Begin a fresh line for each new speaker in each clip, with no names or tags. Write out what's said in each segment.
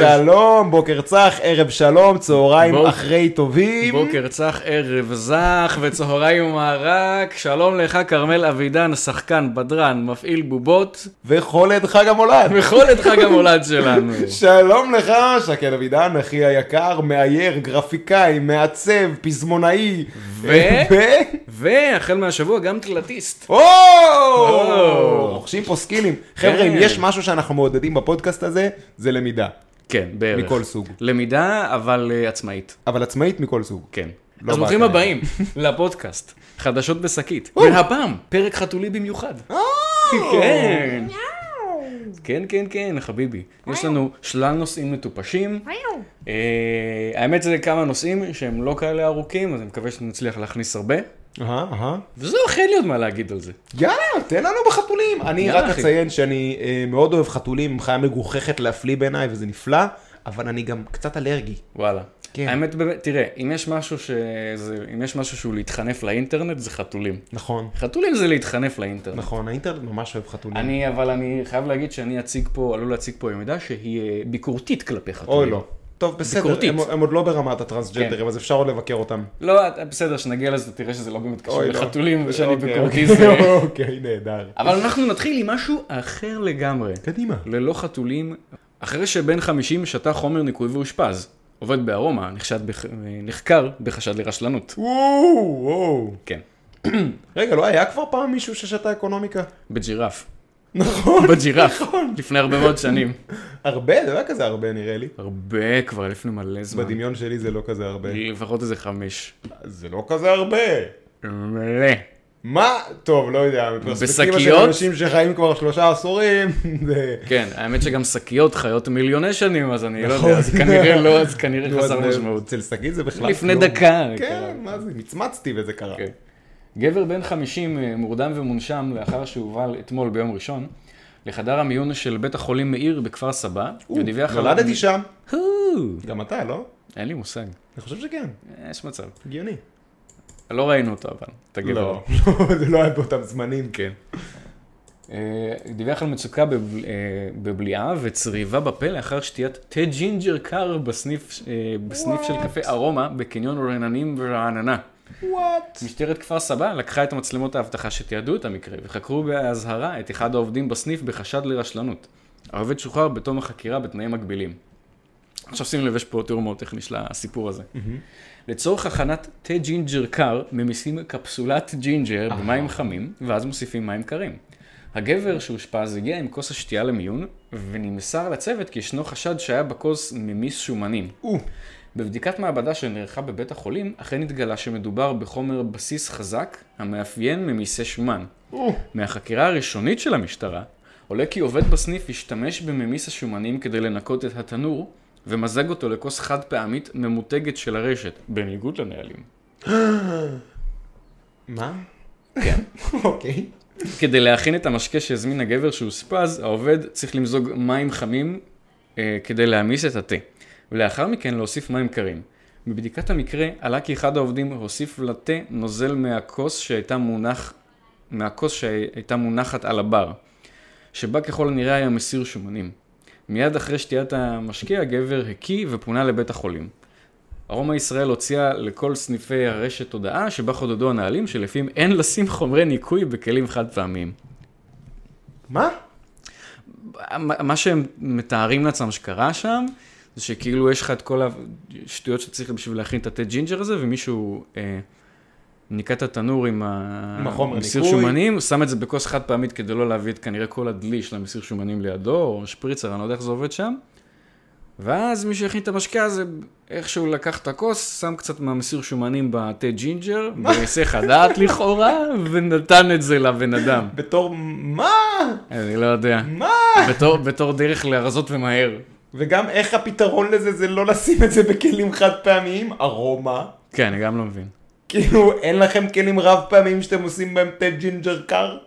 שלום, בוקר צח, ערב שלום, צהריים
בוק-
אחרי טובים.
בוקר צח, ערב זך וצהריים מרק. שלום לך, כרמל אבידן, שחקן, בדרן, מפעיל בובות,
וחולד חג המולד.
וכל את חג המולד שלנו.
שלום לך, שקד אבידן, אחי היקר, מאייר, גרפיקאי, מעצב, פזמונאי.
ו-
ו...
והחל מהשבוע גם תלתיסט.
או!
או.
רוכשים פה סקילים. חבר'ה, אם יש משהו שאנחנו מעודדים בפודקאסט הזה, זה למידה.
כן, בערך.
מכל סוג.
למידה, אבל אה, עצמאית.
אבל עצמאית מכל סוג.
כן.
לא באת
אז ברוכים
אליי.
הבאים לפודקאסט, חדשות בשקית. והפעם, פרק חתולי במיוחד. כן. כן, כן, כן, חביבי. יש לנו שלל נושאים מטופשים. אה, האמת זה כמה נושאים שהם לא כאלה ארוכים, אז אני מקווה שנצליח להכניס הרבה.
אהה, אהה.
וזהו, אך אין לי עוד מה להגיד על זה.
יאללה, תן לנו בחתולים. אני
יאללה,
רק
אחי.
אציין שאני אה, מאוד אוהב חתולים, חיה מגוחכת להפליא בעיניי וזה נפלא, אבל אני גם קצת אלרגי.
וואלה.
כן.
כן. האמת, באמת, תראה, אם יש משהו שזה, אם יש משהו שהוא להתחנף לאינטרנט, זה חתולים.
נכון.
חתולים זה להתחנף לאינטרנט.
נכון, האינטרנט ממש אוהב חתולים.
אני, אבל אני חייב להגיד שאני אציג פה, עלול להציג פה עמדה שהיא אה, ביקורתית כלפי חתולים.
אוי לא. טוב, בסדר,
ביקורתית.
הם, הם עוד לא ברמת הטרנסג'נדרים,
כן.
אז אפשר עוד לבקר אותם.
לא, את- בסדר, כשנגיע לזה אתה תראה שזה לא באמת קשור
אוי, לא.
לחתולים, ושאני
אוקיי,
ביקורתי
אוקיי,
זה...
אוקיי, נהדר.
אבל אנחנו נתחיל עם משהו אחר לגמרי.
קדימה.
ללא חתולים, אחרי שבן 50 שתה חומר ניקוי ואושפז. עובד בארומה, נחשד בח... נחקר בחשד לרשלנות.
וואו, וואו.
כן,
רגע, לא היה כבר פעם מישהו ששתה אקונומיקה?
בג'ירף.
נכון.
בג'ירף, לפני הרבה מאוד שנים.
הרבה, זה לא היה כזה הרבה נראה
אה.
לי.
הרבה כבר, לפני מלא זמן.
בדמיון שלי זה לא כזה הרבה.
לפחות איזה חמש.
זה לא כזה הרבה.
מלא.
מה? טוב, לא יודע, מפרספקטיבה של
בשקיות?
אנשים שחיים כבר שלושה עשורים, זה...
כן, האמת שגם שקיות חיות מיליוני שנים, אז אני לא
נכון.
יודע, אז כנראה לא, אז כנראה
נו,
חסר
אז
משמעות.
אצל שגיא זה בכלל...
לפני
כלום.
דקה.
כן, מה זה, מצמצתי וזה קרה.
כן. גבר בן 50 אה, מורדם ומונשם לאחר שהובל אתמול ביום ראשון לחדר המיון של בית החולים מאיר בכפר סבא.
או,
ודיווח עליו-
נולדתי שם.
הו,
גם אתה, לא?
אין לי מושג,
אני חושב שכן,
אה, יש מצב.
הגיוני.
לא ראינו אותו אבל, את הגבר.
לא, זה לא היה באותם זמנים.
כן. אה, דיווח על מצוקה בב- אה, בבליעה וצריבה בפה לאחר שתיית תה ג'ינג'ר קר בסניף אה, בסניף של
What?
קפה ארומה בקניון רעננים ורעננה.
וואט?
משטרת כפר סבא לקחה את מצלמות האבטחה שתיעדו את המקרה וחקרו באזהרה את אחד העובדים בסניף בחשד לרשלנות. העובד שוחרר בתום החקירה בתנאים מגבילים. עכשיו שים לב, יש פה תיאור מאוד טכני של הסיפור הזה. לצורך הכנת תה ג'ינג'ר קר, ממיסים קפסולת ג'ינג'ר במים חמים, ואז מוסיפים מים קרים. הגבר שאושפז הגיע עם כוס השתייה למיון, ונמסר לצוות כי ישנו חשד שהיה בכוס ממיס שומנים.
או,
בבדיקת מעבדה שנערכה בבית החולים, אכן התגלה שמדובר בחומר בסיס חזק, המאפיין ממיסי שומן.
או.
מהחקירה הראשונית של המשטרה, עולה כי עובד בסניף השתמש בממיס השומנים כדי לנקות את התנור, ומזג אותו לכוס חד פעמית ממותגת של הרשת, בניגוד לנהלים.
מה? כן. אוקיי.
כדי להכין את המשקה שהזמין הגבר שאוספז, העובד צריך למזוג מים חמים אה, כדי להעמיס את התה, ולאחר מכן להוסיף מים קרים. בבדיקת המקרה עלה כי אחד העובדים הוסיף לתה נוזל מהכוס שהייתה, מונח, מהכוס שהייתה מונחת על הבר, שבה ככל הנראה היה מסיר שומנים. מיד אחרי שתיית המשקה הגבר הקיא ופונה לבית החולים. ארומה ישראל הוציאה לכל סניפי הרשת הודעה שבה חודדו הנהלים שלפיהם אין לשים חומרי ניקוי בכלים חד פעמיים.
מה?
מה מה שהם מתארים לעצמם שקרה שם, זה שכאילו יש לך את כל השטויות שצריך בשביל להכין את התה ג'ינג'ר הזה, ומישהו אה, ניקה את התנור עם
עם החומר
המסיר
ניקוי.
שומנים, הוא שם את זה בכוס חד פעמית כדי לא להביא את כנראה כל הדלי של המסיר שומנים לידו, או שפריצר, אני לא יודע איך זה עובד שם. ואז מי שהכין את המשקה הזה, איכשהו לקח את הכוס, שם קצת מהמסיר שומנים בתה ג'ינג'ר, בהיסח הדעת לכאורה, ונתן את זה לבן אדם.
בתור מה?
אני לא יודע.
מה?
בתור, בתור דרך להרזות ומהר.
וגם איך הפתרון לזה זה לא לשים את זה בכלים חד פעמיים? ארומה.
כן, אני גם לא מבין.
כאילו, אין לכם כלים רב פעמים שאתם עושים בהם תה ג'ינג'ר קר?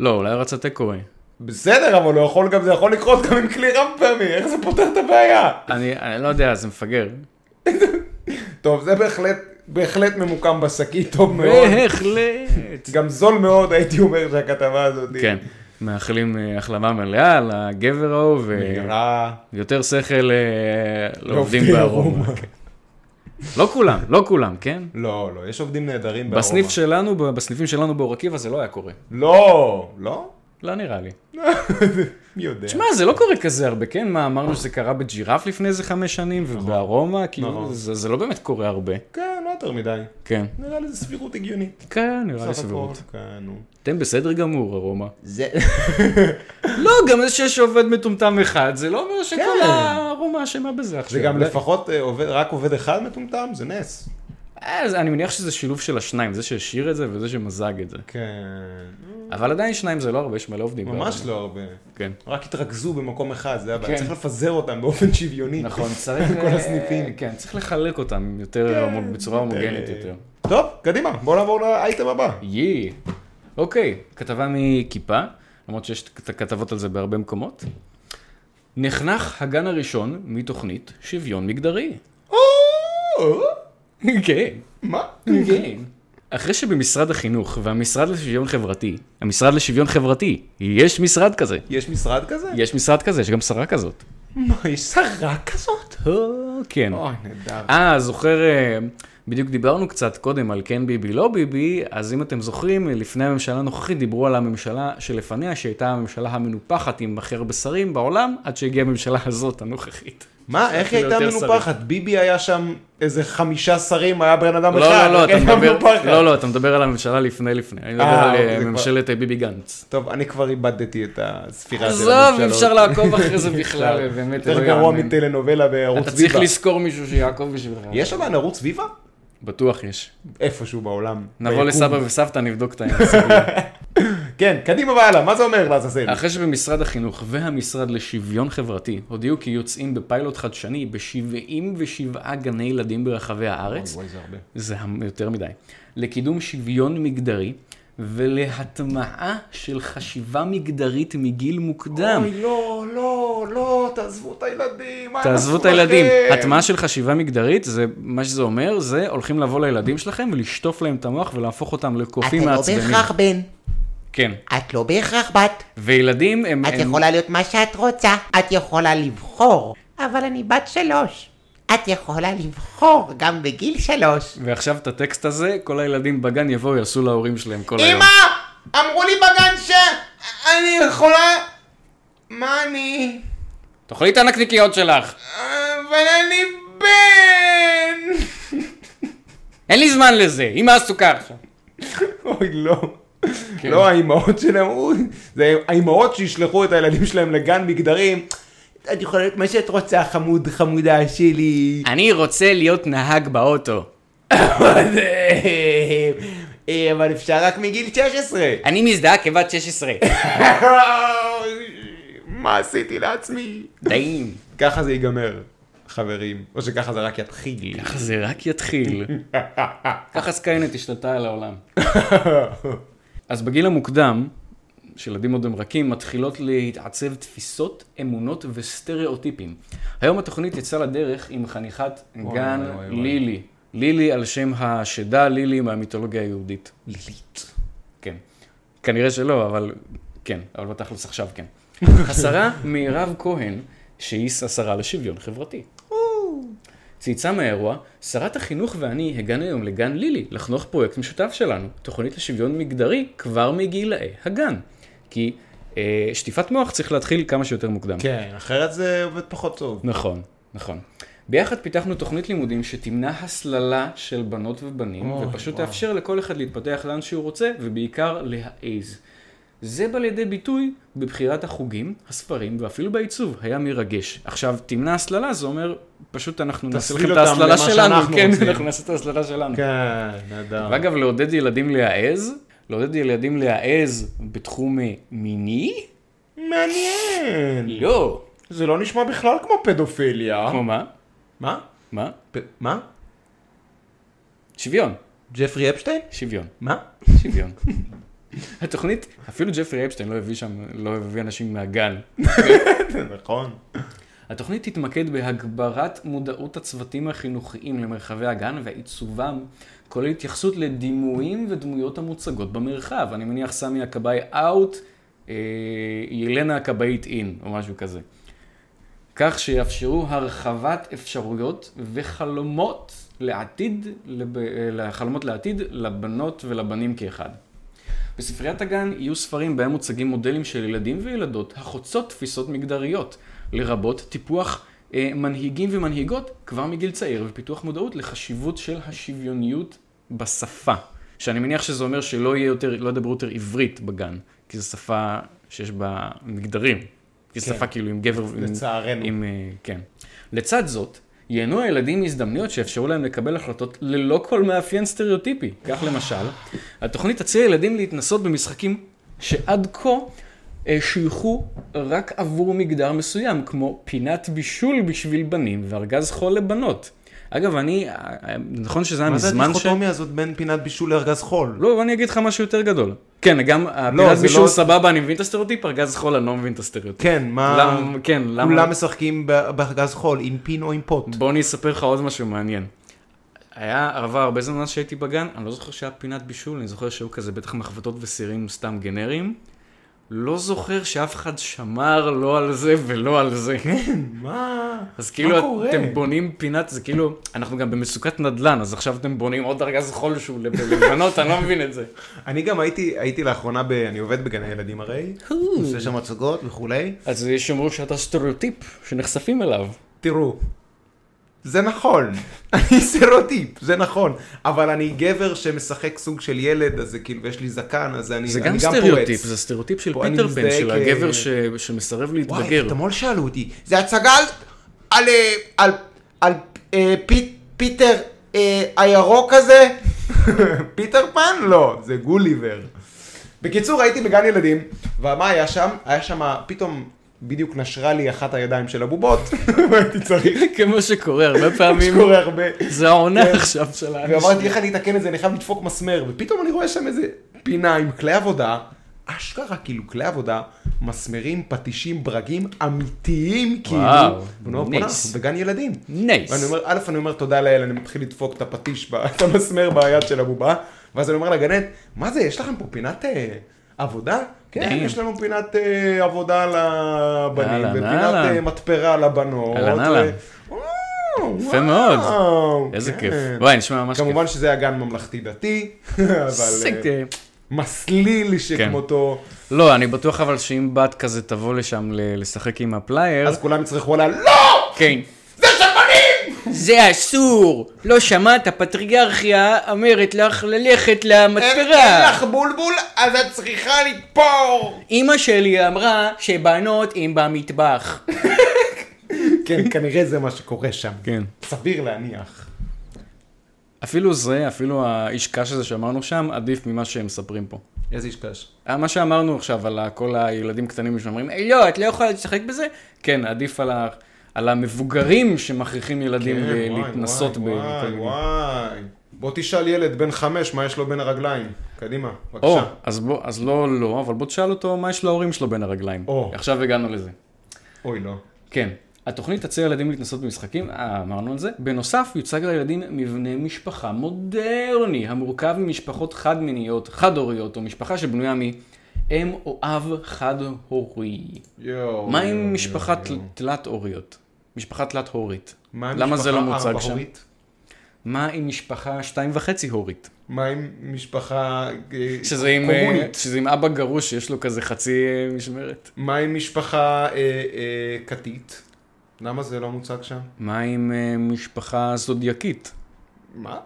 לא, אולי הוא רצה תיקווי.
בסדר, אבל לא יכול גם, זה יכול לקרות גם עם כלי רב פעמי, איך זה פותר את הבעיה?
אני, אני לא יודע, זה מפגר.
טוב, זה בהחלט, בהחלט ממוקם בשקית טוב מאוד.
בהחלט.
גם זול מאוד, הייתי אומר, שהכתבה הזאת.
כן. מאחלים אה, החלמה מלאה לגבר ההוא, אה,
מהירה.
ויותר שכל אה, לעובדים
לעובדי
בארומה.
ארומה.
לא כולם, לא כולם, כן?
לא, לא, יש עובדים נהדרים בארומה.
בסניף שלנו, ב- בסניפים שלנו באור עקיבא זה לא היה קורה.
לא, לא?
לא נראה לי.
מי יודע.
תשמע, זה לא קורה כזה הרבה, כן? מה, אמרנו שזה קרה בג'ירף לפני איזה חמש שנים, ובארומה, כאילו,
נכון.
זה זה לא באמת קורה הרבה.
כן, לא יותר מדי.
כן.
נראה לי זו סבירות הגיונית.
כן, נראה לי
סך הכל,
סבירות.
כן, נו.
אתם בסדר גמור, ארומה.
זה...
לא, גם זה שיש עובד מטומטם אחד, זה לא אומר שכל
כן.
הארומה אשמה בזה עכשיו.
זה גם
לא-
לפחות אה, עובד, רק עובד אחד מטומטם, זה נס.
אה, זה- אני מניח שזה שילוב של השניים, זה שהשאיר את זה וזה שמזג את זה.
כן.
אבל עדיין שניים זה לא הרבה, יש מלא עובדים.
ממש
בארומה.
לא הרבה.
כן.
רק התרכזו במקום אחד, זה הבעיה.
כן.
צריך לפזר אותם באופן שוויוני.
נכון, צריך...
לא. כל הסניפים. כן. אה.
כן, צריך לחלק אותם יותר, הומו- בצורה הומוגנית יותר.
טוב, קדימה, בואו נעבור לאייטם הבא.
יי. אוקיי, כתבה מכיפה, למרות שיש את הכתבות על זה בהרבה מקומות. נחנך הגן הראשון מתוכנית שוויון מגדרי.
או,
כן.
מה?
כן. אחרי שבמשרד החינוך והמשרד לשוויון חברתי, המשרד לשוויון חברתי, יש משרד כזה.
יש משרד כזה?
יש משרד כזה, יש גם שרה כזאת.
מה, יש שרה כזאת?
אה, כן.
אוי, נהדר.
אה, זוכר, אה, בדיוק דיברנו קצת קודם על כן ביבי לא ביבי, אז אם אתם זוכרים, לפני הממשלה הנוכחית דיברו על הממשלה שלפניה, שהייתה הממשלה המנופחת עם הכי הרבה שרים בעולם, עד שהגיעה הממשלה הזאת, הנוכחית.
מה, איך היא
אפילו
הייתה
יותר
מנופחת? ביבי היה שם איזה חמישה שרים, היה בן אדם אחד.
לא,
איך
לא, אתה
הייתה
מדבר-
מנופחת?
לא, לא, אתה מדבר על הממשלה לפני לפני, אני מדבר
אה,
על
אוקיי,
אה,
זה כבר-
ממשלת אה, ביבי גנץ.
טוב, אני כבר איבדתי את הספירה של
עזוב,
הממשלות.
אי אפשר לעקוב אחרי זה בכלל, באמת, זה
יותר
לא
גרוע
יאמן.
מטלנובלה בערוץ
אתה
ויבה.
צריך לזכור מישהו שיעקוב בשבילך.
יש עדיין ערוץ ויבה?
בטוח יש.
איפשהו בעולם.
נבוא
ביקום.
לסבא וסבתא, נבדוק את העניין.
כן, קדימה והלאה, מה זה אומר לעזאזל?
אחרי שבמשרד החינוך והמשרד לשוויון חברתי הודיעו כי יוצאים בפיילוט חדשני ב-77 גני ילדים ברחבי הארץ,
וואי, זה הרבה.
זה המ- יותר מדי, לקידום שוויון מגדרי ולהטמעה של חשיבה מגדרית מגיל מוקדם.
אוי, לא, לא, לא, תעזבו את הילדים. מה הם
תעזבו את
עשו
הילדים.
לכם?
הטמעה של חשיבה מגדרית, זה מה שזה אומר, זה הולכים לבוא לילדים שלכם ולשטוף להם את המוח ולהפוך אותם לקופים
את לא
מעצבנים.
בהכרח בן,
כן.
את לא בהכרח בת.
וילדים הם...
את
הם-
יכולה להיות מה שאת רוצה, את יכולה לבחור. אבל אני בת שלוש. את יכולה לבחור גם בגיל שלוש.
ועכשיו את הטקסט הזה, כל הילדים בגן יבואו, יעשו להורים שלהם כל היום.
אמא, אמרו לי בגן שאני יכולה... מה אני?
תאכלי את הנקניקיות שלך,
אבל אני בן!
אין לי זמן לזה, אמא עסוקה עכשיו.
אוי, לא. לא, האימהות שלהם, אוי, זה האימהות שישלחו את הילדים שלהם לגן מגדרים. את יכולה להיות מה שאת רוצה, חמוד, חמודה שלי.
אני רוצה להיות נהג באוטו.
אה, אבל אפשר רק מגיל 16.
אני מזדהה כבת 16.
מה עשיתי לעצמי?
די.
ככה זה ייגמר, חברים. או שככה זה רק יתחיל.
ככה זה רק יתחיל. ככה סקיינט השתלטה על העולם. אז בגיל המוקדם, כשילדים עוד הם רכים, מתחילות להתעצב תפיסות, אמונות וסטריאוטיפים. היום התוכנית יצאה לדרך עם חניכת גן
וואי, וואי, וואי.
לילי. לילי על שם השדה לילי מהמיתולוגיה היהודית. לילית. כן. כנראה שלא, אבל כן, אבל בתכלס עכשיו כן. השרה מירב כהן, שהיא השרה לשוויון חברתי. צייצה מהאירוע, שרת החינוך ואני הגענו היום לגן לילי, לחנוך פרויקט משותף שלנו, תוכנית לשוויון מגדרי כבר מגילאי הגן. כי אה, שטיפת מוח צריך להתחיל כמה שיותר מוקדם.
כן, אחרת זה עובד פחות טוב.
נכון, נכון. ביחד פיתחנו תוכנית לימודים שתמנע הסללה של בנות ובנים,
אוי,
ופשוט
וואו.
תאפשר לכל אחד להתפתח לאן שהוא רוצה, ובעיקר להעז. זה בא לידי ביטוי בבחירת החוגים, הספרים, ואפילו בעיצוב, היה מרגש. עכשיו, תמנע הסללה, זה אומר, פשוט אנחנו נעשה
תסליל
לכם את
אותם
ההסללה
למה
שלנו,
שאנחנו
כן,
רוצים.
אנחנו נעשה את ההסללה שלנו.
כן, נהדר.
ואגב, לעודד ילדים להעז, לעודד ילדים להעז בתחום אה, מיני?
מעניין.
לא.
זה לא נשמע בכלל כמו פדופיליה.
כמו מה?
מה?
מה?
פ- מה?
שוויון.
ג'פרי אפשטיין?
שוויון.
מה?
שוויון. התוכנית, אפילו ג'פרי אפשטיין לא הביא שם, לא הביא אנשים מהגן.
נכון.
התוכנית תתמקד בהגברת מודעות הצוותים החינוכיים למרחבי הגן ועיצובם, כולל התייחסות לדימויים ודמויות המוצגות במרחב. אני מניח סמי הכבאי אאוט, אה, ילנה הכבאית אין, או משהו כזה. כך שיאפשרו הרחבת אפשרויות וחלומות לעתיד, לב, אה, חלומות לעתיד לבנות ולבנים כאחד. בספריית הגן יהיו ספרים בהם מוצגים מודלים של ילדים וילדות החוצות תפיסות מגדריות, לרבות טיפוח אה, מנהיגים ומנהיגות כבר מגיל צעיר ופיתוח מודעות לחשיבות של השוויוניות בשפה. שאני מניח שזה אומר שלא יהיה יותר, לא ידברו יותר עברית בגן, כי זו שפה שיש בה מגדרים. כי זו
כן.
שפה כאילו עם גבר עם-
לצערנו.
עם, אה, כן. לצד זאת, ייהנו הילדים מהזדמנויות שיאפשרו להם לקבל החלטות ללא כל מאפיין סטריאוטיפי. כך למשל, התוכנית תציע לילדים להתנסות במשחקים שעד כה אה, שויכו רק עבור מגדר מסוים, כמו פינת בישול בשביל בנים וארגז חול לבנות. אגב, אני, אה, אה, נכון שזה היה
מה זה
מזמן ש...
הדיכוטומיה הזאת בין פינת בישול לארגז חול?
לא, אני אגיד לך משהו יותר גדול. כן, גם
לא,
הפינת
זה
בישול
לא-
סבבה, אני מבין את הסטריאוטיפ, ארגז חול אני לא מבין את הסטריאוטיפ.
כן, מה...
למ- כן, למה...
כולם משחקים ב- בארגז חול, עם פין או עם פוט.
בוא אני אספר לך עוד משהו מעניין. היה עבר הרבה זמן מאז שהייתי בגן, אני לא זוכר שהיה פינת בישול, אני זוכר שהיו כזה בטח מחבטות וסירים סתם גנריים. לא זוכר שאף אחד שמר לא על זה ולא על זה.
מה?
אז
מה
כאילו
קורה?
אתם בונים פינת, זה כאילו, אנחנו גם במצוקת נדל"ן, אז עכשיו אתם בונים עוד ארגז חול שהוא לב- לבנות, אני לא מבין את זה.
אני גם הייתי, הייתי לאחרונה, ב, אני עובד בגני ילדים הרי, עושה שם הצגות וכולי.
אז יש שאומרו שאתה סטריאוטיפ שנחשפים אליו.
תראו, זה נכון, אני סטריאוטיפ, זה נכון, אבל אני גבר שמשחק סוג של ילד, אז זה כאילו, ויש לי זקן, אז אני,
זה
אני
גם סטריאוטיפ, זה סטריאוטיפ של
פה אני
פיטר פן,
מזדהה
של
כ-
הגבר ש- שמסרב להתבגר.
וואי, אתמול שאלו אותי, זה הצגה על, על, אה, על, על אה, פי, פיטר אה, הירוק הזה? פיטר פן? לא, זה גוליבר. בקיצור, הייתי בגן ילדים, ומה היה שם? היה שם, פתאום בדיוק נשרה לי אחת הידיים של הבובות, והייתי צריך,
כמו שקורה הרבה פעמים,
שקורה הרבה.
זה העונה
כן.
עכשיו של האנשים.
ואמרתי, איך אני אתקן את זה, אני חייב לדפוק מסמר, ופתאום אני רואה שם איזה פינה עם כלי עבודה, אשכרה כאילו כלי עבודה, מסמרים, פטישים, ברגים, אמיתיים כאילו.
וואו,
ואני אומר, "בוא'נה,
נייס.
אנחנו בגן ילדים.
נייס.
ואני אומר, א', אני אומר תודה לאל, אני מתחיל לדפוק את הפטיש, ב- את המסמר ביד של הבובה, ואז אני אומר לגננת, מה זה, יש לכם פה פינת אה, עבודה? כן,
דיין.
יש לנו פינת אה, עבודה לבנים,
אהלן,
ופינת
אהלן.
אה, מתפרה לבנות.
אהלן, אהלן.
ו- וואו,
יפה מאוד.
וואו,
איזה
כן.
כיף. וואי, נשמע ממש כיף.
כמובן שזה היה גן ממלכתי-דתי, אבל
זה
אה,
כיף.
מסליל שכמותו,
לא, אני בטוח אבל שאם בת כזה תבוא לשם ל- לשחק עם הפלייר,
אז כולם יצרכו עליה, לא!
כן.
זה שבנים!
זה אסור! לא שמעת? הפטריארכיה אומרת לך ללכת
אה,
למתפרה.
כן, בולבול, אז את צריכה לתפור!
אמא שלי אמרה שבנות הן במטבח.
כן, כנראה זה מה שקורה שם.
כן.
סביר להניח.
אפילו זה, אפילו האיש קש הזה שאמרנו שם, עדיף ממה שהם מספרים פה.
איזה איש קש.
אה, מה שאמרנו עכשיו על ה- כל הילדים קטנים שאומרים, "אה, לא, את לא יכולה לשחק בזה, כן, עדיף על, ה, על המבוגרים שמכריחים ילדים
כן,
ל-
וואי,
להתנסות
וואי,
בכל
וואי,
מיני-
וואי. בוא תשאל ילד בן חמש מה יש לו בין הרגליים. קדימה,
או,
בבקשה.
אז, בוא, אז לא, לא, אבל בוא תשאל אותו מה יש להורים שלו בין הרגליים.
או.
עכשיו הגענו לזה.
אוי, לא.
כן. התוכנית תציע לילדים להתנסות במשחקים, אה, אמרנו על זה. בנוסף, יוצג לילדים מבנה משפחה מודרני, המורכב ממשפחות חד-מיניות, חד-הוריות, או משפחה שבנויה מאם או אב חד-הורי.
יואו.
מה
יואו,
עם משפחה
יואו.
תל- תלת-הוריות? משפחה תלת-הורית.
מה עם
למה זה לא
משפחה
מוצג שם?
ארבע-הורית?
מה עם משפחה שתיים וחצי הורית?
מה עם משפחה אה,
שזה עם, אה,
קומונית?
שזה עם אבא גרוש שיש לו כזה חצי אה, משמרת.
מה עם משפחה אה, אה, כתית? למה זה לא מוצג שם?
מה עם אה, משפחה זודיאקית?
מה?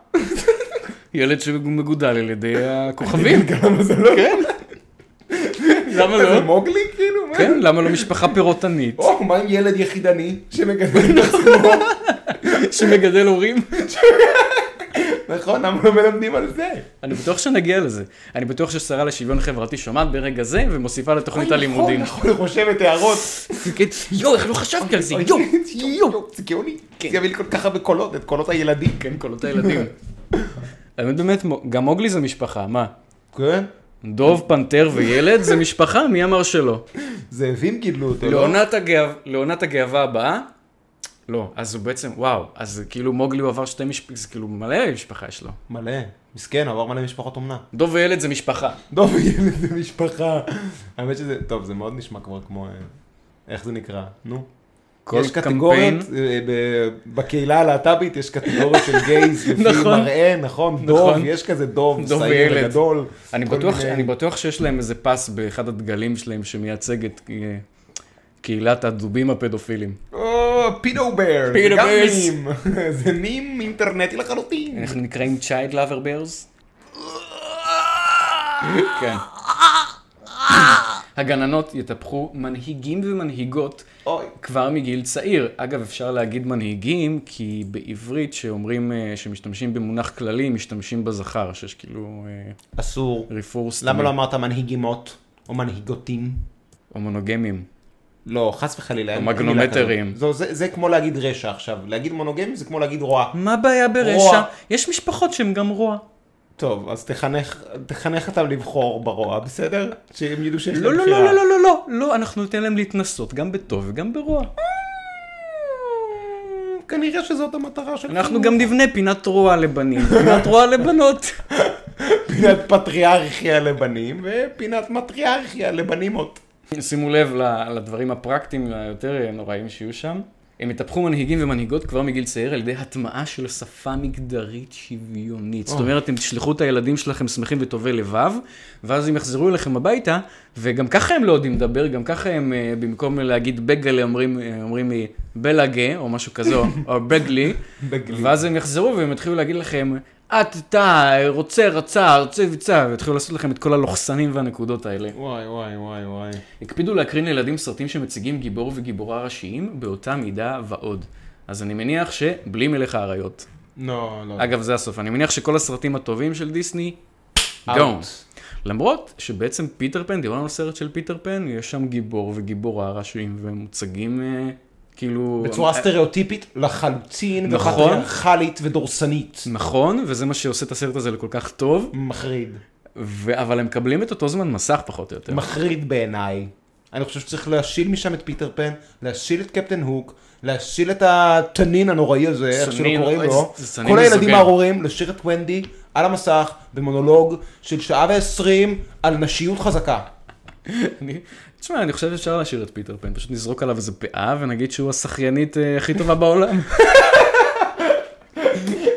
ילד שמגודל על ידי הכוכבים.
למה זה לא? כן,
למה
זה
לא?
מוגלי כאילו? מה?
כן, למה לא משפחה פירותנית
או, מה עם ילד יחידני שמגדל את עצמו?
שמגדל הורים?
נכון, למה לא מלמדים על זה?
אני בטוח שנגיע לזה. אני בטוח ששרה לשוויון חברתי שומעת ברגע זה ומוסיפה לתוכנית
נכון,
הלימודים.
נכון, היא רושמת הערות.
כן, יואו, איך לא חשבתי על זה? יואו, יואו.
יו, זה גאוני. זה יביא לי כל כך הרבה קולות, את קולות הילדים.
כן, קולות הילדים. האמת באמת, גם מוגלי זה משפחה, מה?
כן?
דוב, פנתר וילד זה משפחה, מי אמר שלא?
זאבים גידלו אותו. לא?
לעונת הגאו- לעונת הגאווה הבאה, לא, אז הוא בעצם, וואו, אז כאילו מוגלי הוא עבר שתי משפחות, זה כאילו מלא משפחה יש לו.
מלא. מסכן, עבר מלא משפחות אומנה.
דוב וילד זה משפחה.
דוב ילד זה לא משפחה. האמת שזה, טוב, זה מאוד נשמע כבר כמו, אה, איך זה נקרא? נו.
כל
יש קטגוריות
קמפיין-
אה, ב- בקהילה הלהט"בית, יש קטגוריות של גייז לפי
נכון.
מראה, נכון? דוב,
נכון.
יש כזה דוב,
דוב
שעיר
וילד.
גדול.
אני
כל
בטוח,
מיני-
אני בטוח שיש להם איזה פס באחד הדגלים שלהם שמייצג את אה, קהילת הדובים הפדופילים.
או, פידו בר, זה
פידו
גם
ברס.
מים. זה מים אינטרנטי לחלוטין.
אנחנו נקראים child lover bears? כן. הגננות יטפחו מנהיגים ומנהיגות
אוי.
כבר מגיל צעיר. אגב, אפשר להגיד מנהיגים, כי בעברית שאומרים, אה, שמשתמשים במונח כללי, משתמשים בזכר, שיש כאילו אה,
אסור.
רפורס.
למה
תמיד.
לא אמרת מנהיגימות או מנהיגותים?
או מונוגמים.
לא, חס וחלילה. אין- אין מילה
מגנומטרים.
כזאת. זו- זה זה כמו להגיד רשע עכשיו. להגיד מונוגמי זה כמו להגיד רוע.
מה הבעיה
רוע.
ברשע? יש משפחות שהן גם רוע.
טוב, אז תחנך, תחנך אותם לבחור ברוע, בסדר? שהם ידעו שיש
לא,
להם
לא,
בחירה.
לא, לא, לא, לא, לא, לא, אנחנו ניתן להם להתנסות גם בטוב וגם ברוע.
אמ, כנראה שזאת המטרה של
אנחנו גם נבנה פינת רוע לבנים, פינת רוע לבנות.
פינת פטריארכיה לבנים ופינת מטריארכיה לבנימות.
שימו לב ל- לדברים הפרקטיים היותר נוראים שיהיו שם. הם יטפחו מנהיגים ומנהיגות כבר מגיל צעיר על ידי הטמעה של שפה מגדרית שוויונית. זאת אומרת, אתם תשלחו את הילדים שלכם שמחים וטובי לבב, ואז הם יחזרו אליכם הביתה, וגם ככה הם לא יודעים לדבר, גם ככה הם, אה, במקום להגיד בגלה, אומרים, אה, אומרים לי בלאגה, או משהו כזה, או- או בגלי,
בגלי.
ואז הם יחזרו והם יתחילו להגיד לכם, את, אתה, רוצה, רצה, רוצה, ביצע, ויתחילו לעשות לכם את כל הלוחסנים והנקודות האלה.
וואי וואי וואי וואי.
הקפידו להקרין לילדים סרטים שמציגים גיבור וגיבורה ראשיים באותה מידה ועוד. אז אני מניח שבלי מלך האריות.
לא, לא.
אגב, זה הסוף. אני מניח שכל הסרטים הטובים של דיסני,
Out.
don't. למרות שבעצם פיטר פן, דיברנו על סרט של פיטר פן, יש שם גיבור וגיבורה ראשיים והם מוצגים אה, כאילו...
בצורה
אה,
סטריאוטיפית לחלוטין,
נכון.
ופטריארכלית ודורסנית.
נכון, וזה מה שעושה את הסרט הזה לכל כך טוב,
מחריד.
ו... אבל הם מקבלים את אותו זמן מסך פחות או יותר.
מחריד בעיניי. אני חושב שצריך להשיל משם את פיטר פן, להשיל את קפטן הוק, להשיל את התנין הנוראי הזה, איך שלא
סנין,
קוראים
אוי,
לו,
זה- זה סנין
כל הילדים
מיזוגן.
הארורים, להשאיר את ונדי על המסך במונולוג של שעה ועשרים על נשיות חזקה.
אני- תשמע, אני חושב שאפשר להשאיר את פיטר פן, פשוט נזרוק עליו איזה פאה ונגיד שהוא השחיינית אה, הכי טובה בעולם.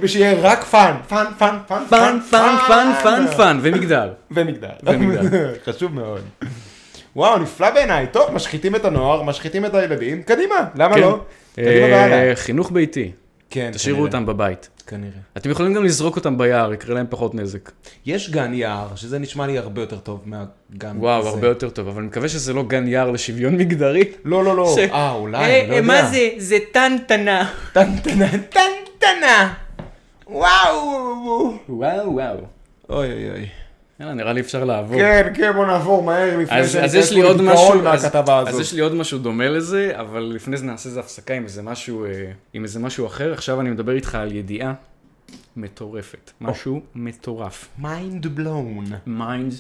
ושיהיה רק פאן, פאן, פאן, פאן,
פאן, פאן, פאן, פאן, פאן, ומגדל.
ומגדל.
ומגדל.
חשוב מאוד. וואו, נפלא בעיניי. טוב, משחיתים את הנוער, משחיתים את הילדים, קדימה, למה לא? קדימה והלאה.
כן. אה, חינוך ביתי,
כן,
תשאירו
כנראה.
אותם בבית.
כנראה.
אתם יכולים גם לזרוק אותם ביער, יקרה להם פחות נזק.
יש גן יער, שזה נשמע לי הרבה יותר טוב מהגן
וואו,
הזה.
הרבה יותר טוב, אבל אני מקווה שזה לא גן יער לשוויון מגדרי.
לא, לא, לא.
ש-
אה, אולי, לא יודע.
זה טנטנה.
טנטנה, טנטנה. וואו.
וואו, וואו.
אוי אוי אוי.
יאללה, נראה לי אפשר לעבור.
כן, כן, בוא נעבור מהר לפני
אז, אז יש לי עוד משהו, אז, אז יש לי עוד משהו דומה לזה, אבל לפני זה נעשה איזה הפסקה עם איזה משהו, אה, עם איזה משהו אחר. עכשיו אני מדבר איתך על ידיעה מטורפת, משהו מטורף.
מיינד בלון.
mind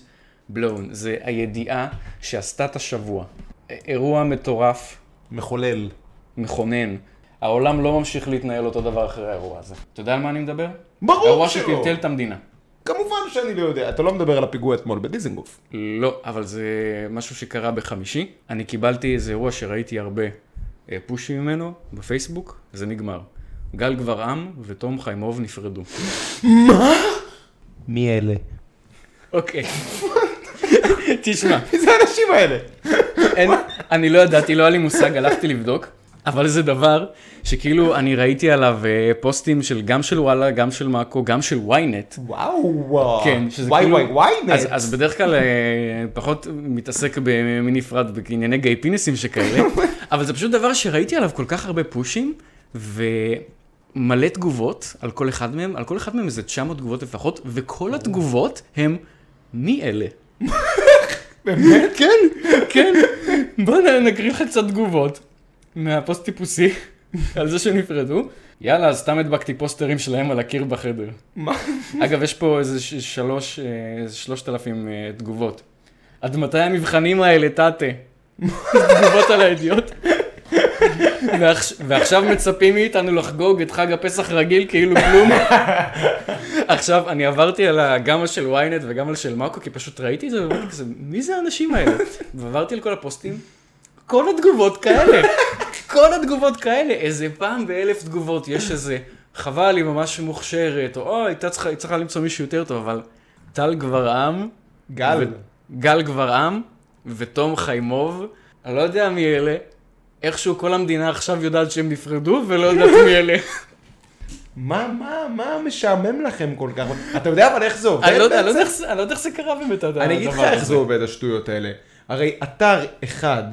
blown, זה הידיעה שעשתה את השבוע. א- אירוע מטורף,
מחולל.
מכונן. העולם לא ממשיך להתנהל אותו דבר אחרי האירוע הזה. אתה יודע על מה אני מדבר?
ברור
אירוע
שלא.
שטלטל את המדינה.
כמובן שאני לא יודע, אתה לא מדבר על הפיגוע אתמול בדיזנגוף.
לא, אבל זה משהו שקרה בחמישי. אני קיבלתי איזה אירוע שראיתי הרבה אה, פושים ממנו בפייסבוק, זה נגמר. גל גברעם ותום חיימוב נפרדו.
מי אלה?
אוקיי. תשמע,
מי זה האנשים האלה?
אין, אני לא ידעתי, לא היה לי מושג, הלכתי לבדוק, אבל זה דבר שכאילו אני ראיתי עליו אה, פוסטים של גם של וואלה, גם של מאקו, גם של ynet.
וואו.
כן, שזה
וואי
כאילו...
וואי וואי
אז,
נט.
אז בדרך כלל אה, פחות מתעסק במי נפרד בענייני גיי פיניסים שכאלה, אבל זה פשוט דבר שראיתי עליו כל כך הרבה פושים, ומלא תגובות על כל אחד מהם, על כל אחד מהם איזה 900 תגובות לפחות, וכל התגובות הם מי אלה? באמת? כן, כן. בוא נ- נקריא לך קצת תגובות מהפוסט טיפוסי על זה שנפרדו. יאללה, אז סתם הדבקתי פוסטרים שלהם על הקיר בחדר.
מה?
אגב, יש פה איזה ש- שלוש, אה, איזה שלושת אלפים אה, תגובות. עד מתי המבחנים האלה, טאטה? תגובות על הידיעות. ועכש- ועכשיו מצפים מאיתנו לחגוג את חג הפסח רגיל כאילו כלום. עכשיו, אני עברתי על ה- גם על של ynet וגם על של מאקו, כי פשוט ראיתי את זה ואמרתי כזה, מי זה האנשים האלה? ועברתי על כל הפוסטים, כל התגובות כאלה. כל התגובות כאלה. איזה פעם באלף תגובות יש איזה, חבל, היא ממש מוכשרת, או אוי, הייתה צריכה- היא צריכה למצוא מישהו יותר טוב, אבל טל גברעם,
גל.
ו- גל גברעם ותום חיימוב, אני לא יודע מי אלה. איכשהו כל המדינה עכשיו יודעת שהם נפרדו ולא יודעת מי אלה.
מה, מה, מה משעמם לכם כל כך? אתה יודע אבל איך זה עובד
אני לא יודע- אני לא
בעצם?
יודע איך זה- אני לא יודע איך זה קרה באמת, הדבר הזה.
אני אגיד לך איך זה עובד, השטויות האלה. הרי אתר אחד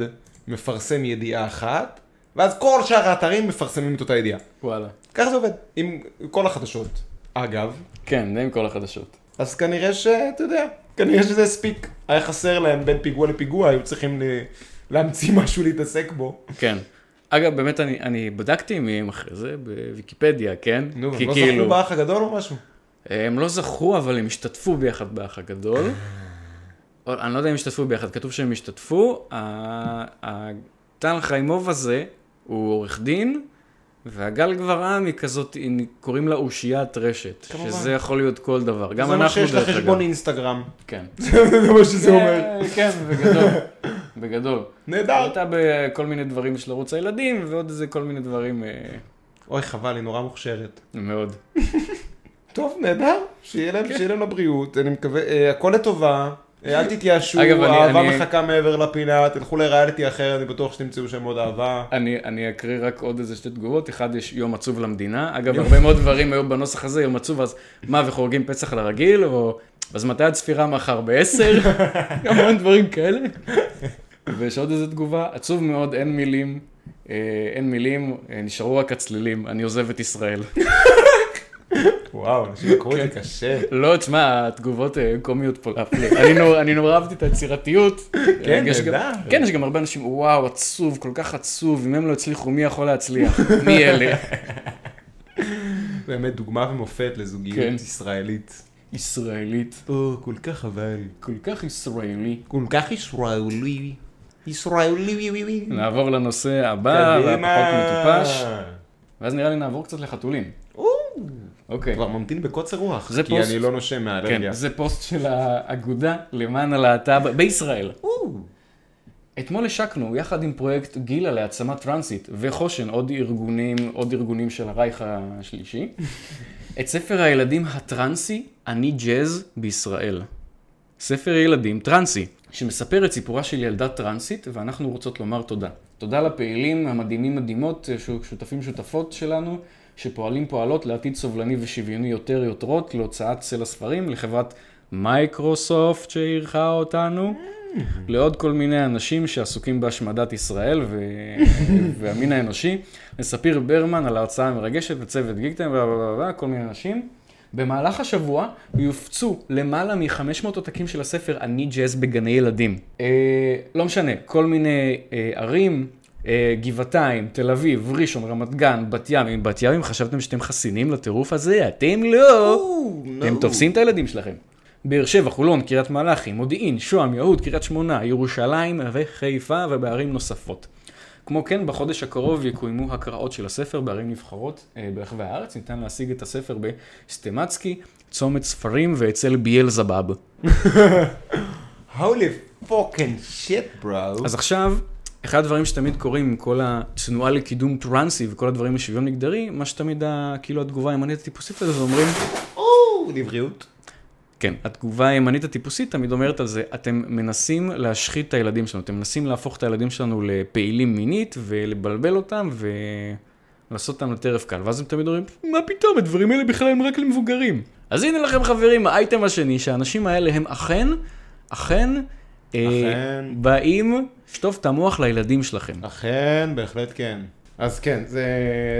מפרסם ידיעה אחת, ואז כל שאר האתרים מפרסמים את אותה ידיעה.
וואלה.
ככה זה עובד, עם כל החדשות. אגב,
כן, זה עם כל החדשות.
אז כנראה שאתה יודע, כנראה שזה הספיק. היה חסר להם בין פיגוע לפיגוע, היו צריכים ל- להמציא משהו להתעסק בו.
כן. אגב, באמת, אני, אני בדקתי מי הם אחרי זה בוויקיפדיה, כן?
נו,
כי
הם לא
כאילו,
זכו באח הגדול או משהו?
הם לא זכו, אבל הם השתתפו ביחד באח הגדול.
אה.
או, אני לא יודע אם השתתפו ביחד, כתוב שהם השתתפו. ה- ה- טל חיימוב הזה הוא עורך דין, והגל גברעם היא כזאת, היא- קוראים לה אושיית רשת.
כמובן.
שזה יכול להיות כל דבר. גם
זה מה
אנחנו,
שיש
דרך אגב.
לחשבון אינסטגרם.
כן.
זה מה שזה אומר.
כן, בגדול. בגדול. היא
נהדר.
הייתה בכל מיני דברים של ערוץ הילדים, ועוד איזה כל מיני דברים אה,
אוי, חבל, היא נורא מוכשרת.
מאוד.
טוב, נהדר. שיהיה להם, שיהיה להם לבריאות. אני מקווה, אה, הכל לטובה. אה, אל תתייאשו,
כן. אגב, אני-
אהבה
אני-
מחכה מעבר לפינה, תלכו לריאליטי אחר, אני בטוח שתמצאו שם עוד אהבה.
אני, אני אקריא רק עוד איזה שתי תגובות, אחד יש יום עצוב למדינה, אגב הרבה מאוד דברים היו בנוסח הזה, יום עצוב אז מה וחורגים פסח לרגיל, או אז מתי הצפירה מחר בעשר, המון דברים כאלה. ויש עוד איזה תגובה, עצוב מאוד, אין מילים, אה, אין מילים, אה, נשארו רק הצלילים, אני עוזב את ישראל.
וואו, אנשים לקחו את זה קשה.
לא, תשמע, התגובות אה, קומיות פה להפליא. אני נור- אני נורא אהבתי את היצירתיות.
כן,
יש גם-
נהדר.
כן, יש גם הרבה אנשים, וואו, עצוב, כל כך עצוב, אם הם לא הצליחו, מי יכול להצליח? מי אלה?
באמת דוגמה ומופת לזוגיות
כן.
ישראלית.
ישראלית.
או, כל כך חבל.
כל כך ישראלי.
כל כך ישראלי. ישראלי.
נעבור לנושא הבא, והפחות אה, מטופש, ואז נראה לי נעבור קצת לחתולים. אוקיי.
כבר ממתין בקוצר רוח,
זה
כי
פוסט.
אני לא נושם מהאלרגיה.
כן, זה פוסט של האגודה למען הלהט"ב בישראל. אתמול השקנו, יחד עם פרויקט גילה להעצמה טרנסית וחושן, עוד ארגונים, עוד ארגונים של הרייך השלישי, את ספר הילדים הטרנסי, אני ג'אז בישראל. ספר ילדים טרנסי, שמספר את סיפורה של ילדה טרנסית, ואנחנו רוצות לומר תודה. תודה לפעילים המדהימים מדהימות, ש- שותפים שותפות שלנו, שפועלים פועלות לעתיד סובלני ושוויוני יותר יותרות, להוצאת צל הספרים, לחברת מייקרוסופט שאירחה אותנו, Mm-hmm. לעוד כל מיני אנשים שעסוקים בהשמדת ישראל ו... והמין האנושי, לספיר ברמן על ההרצאה המרגשת וצוות גיקטיים, ו- ו- ו- ו- כל מיני אנשים. במהלך השבוע יופצו למעלה מ-500 עותקים של הספר אני ג'אז בגני ילדים. אה, לא משנה, כל מיני אה, ערים, אה, גבעתיים, תל אביב, ראשון, רמת גן, בת ים. אם בת ים, חשבתם שאתם חסינים לטירוף הזה? אתם לא. אתם תופסים את הילדים שלכם. באר שבע, חולון, קריית מלאכי, מודיעין, שוהם, יהוד, קריית שמונה, ירושלים וחיפה ובערים נוספות. כמו כן, בחודש הקרוב יקוימו הקראות של הספר בערים נבחרות אה, ברחבי הארץ. ניתן להשיג את הספר בסטמצקי, צומת ספרים ואצל ביאל זבאב.
holy fucking shit, bro.
אז עכשיו, אחד הדברים שתמיד קורים עם כל התנועה לקידום טרנסי וכל הדברים לשוויון מגדרי, מה שתמיד, ה- כאילו, התגובה הימנית הטיפוסית לזה, ואומרים,
או, לבריאות.
כן, התגובה הימנית הטיפוסית תמיד אומרת על זה, אתם מנסים להשחית את הילדים שלנו, אתם מנסים להפוך את הילדים שלנו לפעילים מינית ולבלבל אותם ולעשות אותם לטרף קל. ואז הם תמיד אומרים, מה פתאום, הדברים האלה בכלל הם רק למבוגרים. אז הנה לכם חברים, האייטם השני, שהאנשים האלה הם אכן, אכן, אה,
אכן.
באים, שטוף את המוח לילדים שלכם.
אכן, בהחלט כן. אז כן, זה,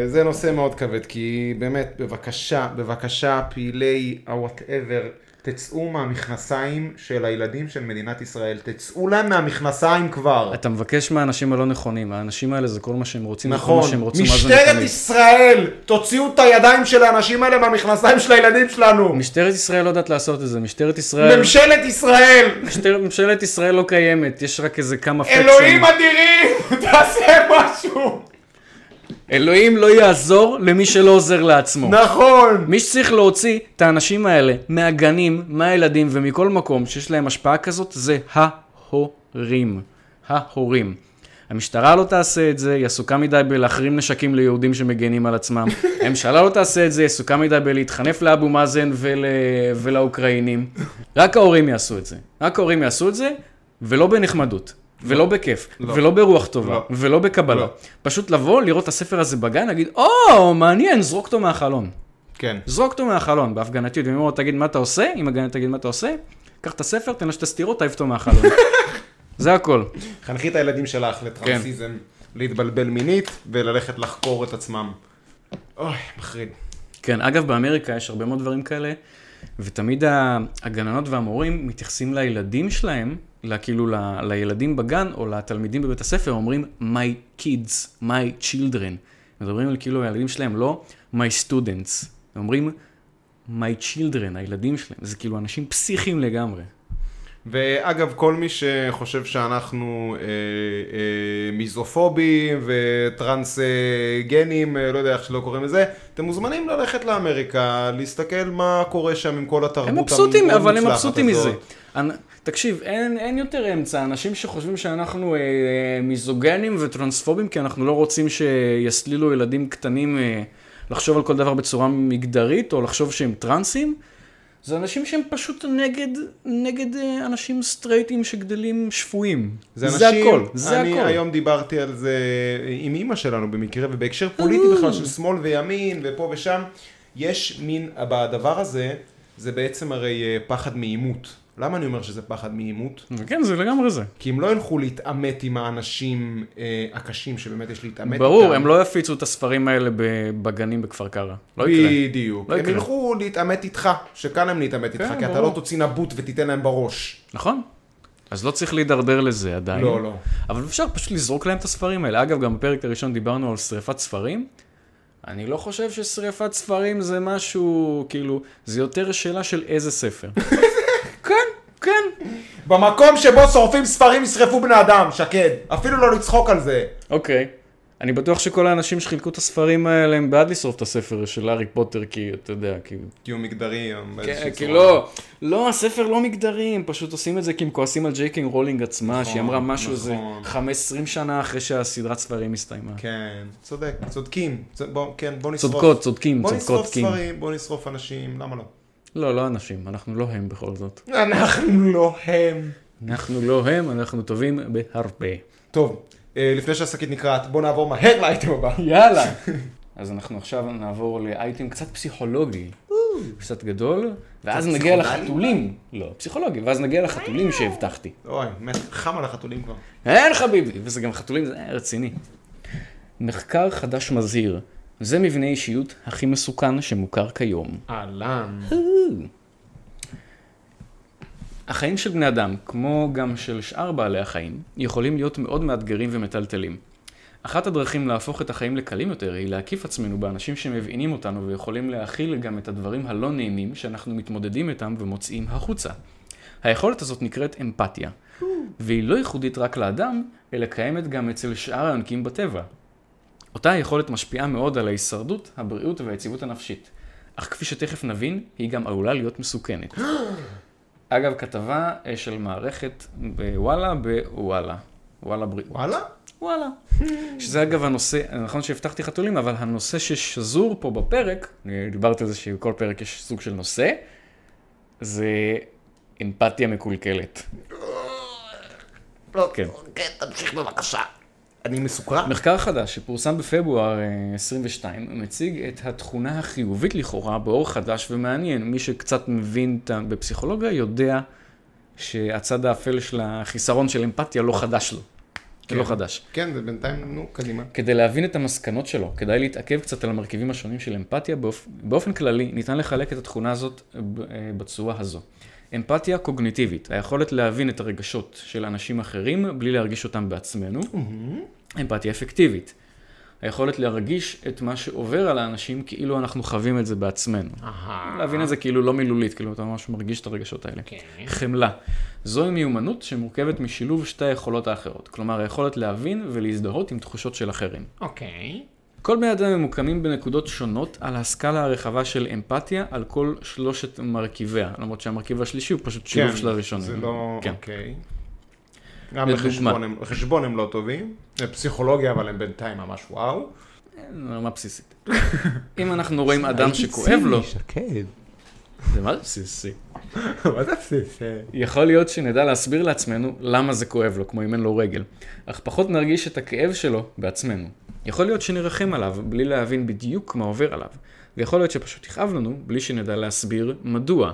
זה נושא מאוד כבד, כי באמת, בבקשה, בבקשה, פעילי ה-whatever, תצאו מהמכנסיים של הילדים של מדינת ישראל, תצאו להם מהמכנסיים כבר.
אתה מבקש מהאנשים הלא נכונים, האנשים האלה זה כל מה שהם רוצים, וכל מה
נכון,
שהם רוצים, מה זה
משטרת
נכונים.
ישראל, תוציאו את הידיים של האנשים האלה מהמכנסיים של הילדים שלנו.
משטרת ישראל לא יודעת לעשות את זה, משטרת ישראל...
ממשלת ישראל,
משטר- ממשלת ישראל לא קיימת, יש רק איזה כמה פקסים.
אלוהים אדירים, תעשה משהו.
אלוהים לא יעזור למי שלא עוזר לעצמו.
נכון.
מי שצריך להוציא את האנשים האלה מהגנים, מהילדים ומכל מקום שיש להם השפעה כזאת, זה ההורים. ההורים. המשטרה לא תעשה את זה, היא עסוקה מדי בלהחרים נשקים ליהודים שמגנים על עצמם. הממשלה לא תעשה את זה, היא עסוקה מדי בלהתחנף לאבו מאזן ול... ולאוקראינים. רק ההורים יעשו את זה. רק ההורים יעשו את זה, ולא בנחמדות. ולא בכיף,
לא.
ולא ברוח טובה,
לא.
ולא בקבלה.
לא.
פשוט לבוא, לראות את הספר הזה בגן, להגיד, או, מעניין, זרוק אותו מהחלון.
כן.
זרוק אותו מהחלון בהפגנתיות, ואם הוא תגיד מה אתה עושה, אם הגננת תגיד מה אתה עושה, קח את הספר, תן לה שתי סטירות, תעיף אותו מהחלון. זה הכל.
חנכי את הילדים שלך לטרנסיזם,
כן.
להתבלבל מינית וללכת לחקור את עצמם. אוי, מחריד.
כן, אגב, באמריקה יש הרבה מאוד דברים כאלה, ותמיד ה- הגננות והמורים מתייחסים לילדים שלהם, ל- כאילו ל- לילדים בגן או לתלמידים בבית הספר, אומרים my kids, my children. מדברים על כאילו הילדים שלהם, לא my students. הם אומרים my children, הילדים שלהם. זה כאילו אנשים פסיכיים לגמרי.
ואגב, כל מי שחושב שאנחנו אה, אה, מיזופובים וטרנסגנים, אה, לא יודע איך שלא קוראים לזה, אתם מוזמנים ללכת לאמריקה, להסתכל מה קורה שם עם כל התרבות
הם מבסוטים,
המאוד
אבל הם
מוצלחת לא.
מבסוטים
הזאת.
מזה. אנ- תקשיב, אין, אין יותר אמצע, אנשים שחושבים שאנחנו אה, מיזוגנים וטרנספובים, כי אנחנו לא רוצים שיסלילו ילדים קטנים אה, לחשוב על כל דבר בצורה מגדרית, או לחשוב שהם טרנסים, זה אנשים שהם פשוט נגד, נגד אה, אנשים סטרייטים שגדלים שפויים. זה, זה
אנשים-
הכל, זה
אני
הכל.
היום דיברתי על זה עם אימא שלנו במקרה, ובהקשר פוליטי בכלל של שמאל וימין, ופה ושם, יש מין, בדבר הזה, זה בעצם הרי אה, פחד מעימות. למה אני אומר שזה פחד מעימות?
כן, זה לגמרי זה.
כי הם לא ילכו להתעמת עם האנשים אה, הקשים שבאמת יש להתעמת
ברור,
איתם.
הם לא יפיצו את הספרים האלה ב- בגנים בכפר קרא. לא יקרה.
בדיוק.
לא
הם
יקרה.
ילכו להתעמת איתך, שכאן הם להתעמת איתך,
כן,
כי אתה
ברור.
לא תוציא נבוט ותיתן להם בראש.
נכון? אז לא צריך להידרדר לזה עדיין.
לא, לא.
אבל אפשר פשוט לזרוק להם את הספרים האלה. אגב, גם בפרק הראשון דיברנו על שריפת ספרים. אני לא חושב ששריפת ספרים זה משהו, כאילו, זה יותר שאלה של איזה ספר. כן, כן.
במקום שבו שורפים ספרים ישרפו בני אדם, שקד. אפילו לא לצחוק על זה.
אוקיי. אני בטוח שכל האנשים שחילקו את הספרים האלה הם בעד לשרוף את הספר של הארי פוטר, כי אתה יודע, כי...
כי הוא מגדרי. או באיזושהי
כן, כי
צורה.
לא, לא, הספר לא מגדרי, הם פשוט עושים את זה כי הם כועסים על ג'ייקינג רולינג עצמה, שהיא אמרה משהו איזה
נכון.
15 שנה אחרי שהסדרת ספרים הסתיימה.
כן, צודק, צודקים. צ- בוא, כן, בוא נשרוף.
צודקות, צודקים,
בוא
צודקות, כן.
נשרוף
קים.
ספרים, בוא נשרוף אנשים, למה לא?
לא, לא אנשים, אנחנו לא הם בכל זאת.
אנחנו לא הם.
אנחנו לא הם, אנחנו טובים בהרבה.
טוב, אה, לפני שהשקית נקרעת, בוא נעבור מהר לאייטם הבא.
יאללה. אז אנחנו עכשיו נעבור לאייטם קצת פסיכולוגי, קצת גדול, ואז נגיע
פסיכולוגי?
לחתולים. לא, פסיכולוגי, ואז נגיע לחתולים שהבטחתי.
אוי, מת, חם על החתולים כבר.
אין חביבי, וזה גם חתולים, זה אה, רציני. מחקר חדש מזהיר, זה מבנה אישיות הכי מסוכן שמוכר כיום. אה.
אהלן.
החיים של בני אדם, כמו גם של שאר בעלי החיים, יכולים להיות מאוד מאתגרים ומטלטלים. אחת הדרכים להפוך את החיים לקלים יותר היא להקיף עצמנו באנשים שמבינים אותנו ויכולים להכיל גם את הדברים הלא נעימים שאנחנו מתמודדים איתם ומוציאים החוצה. היכולת הזאת נקראת אמפתיה, והיא לא ייחודית רק לאדם, אלא קיימת גם אצל שאר היונקים בטבע. אותה היכולת משפיעה מאוד על ההישרדות, הבריאות והיציבות הנפשית. אך כפי שתכף נבין, היא גם עלולה להיות מסוכנת. אגב, כתבה אה, של מערכת בוואלה בוואלה. וואלה בריאות.
וואלה?
וואלה. שזה אגב הנושא, נכון שהבטחתי חתולים, אבל הנושא ששזור פה בפרק, אני דיברתי על זה שבכל פרק יש סוג של נושא, זה אמפתיה מקולקלת.
לא,
כן.
כן, תמשיך בבקשה. אני מסוקרן.
מחקר חדש שפורסם בפברואר אה, 22 מציג את התכונה החיובית לכאורה באור חדש ומעניין. מי שקצת מבין את ה- בפסיכולוגיה יודע שהצד האפל של החיסרון של אמפתיה לא חדש לו. זה לא חדש.
כן, זה בינתיים, נו, קדימה.
כדי להבין את המסקנות שלו, כדאי להתעכב קצת על המרכיבים השונים של אמפתיה. באופ... באופן כללי, ניתן לחלק את התכונה הזאת ב- אה, בצורה הזו. אמפתיה קוגניטיבית, היכולת להבין את הרגשות של אנשים אחרים בלי להרגיש אותם בעצמנו. אמפתיה אפקטיבית, היכולת להרגיש את מה שעובר על האנשים כאילו אנחנו חווים את זה בעצמנו. להבין את זה כאילו לא מילולית, כאילו אתה ממש מרגיש את הרגשות האלה. חמלה. זוהי מיומנות שמורכבת משילוב שתי היכולות האחרות. כלומר, היכולת להבין ולהזדהות עם תחושות של אחרים.
אוקיי.
כל בני אדם ממוקמים בנקודות שונות על הסקאלה הרחבה של אמפתיה על כל שלושת מרכיביה, למרות שהמרכיב השלישי הוא פשוט שילוב
כן,
של הראשונים.
זה לא...
כן.
אוקיי. גם
לדוגמה.
בחשבון הם, בחשבון הם לא טובים, בפסיכולוגיה אבל הם בינתיים ממש וואו.
כן, רמה בסיסית. אם אנחנו רואים אדם שכואב לו,
שקד.
זה מה זה בסיסי?
מה זה בסיסי?
יכול להיות שנדע להסביר לעצמנו למה זה כואב לו, כמו אם אין לו רגל, אך פחות נרגיש את הכאב שלו בעצמנו. יכול להיות שנרחם עליו בלי להבין בדיוק מה עובר עליו, ויכול להיות שפשוט יכאב לנו בלי שנדע להסביר מדוע,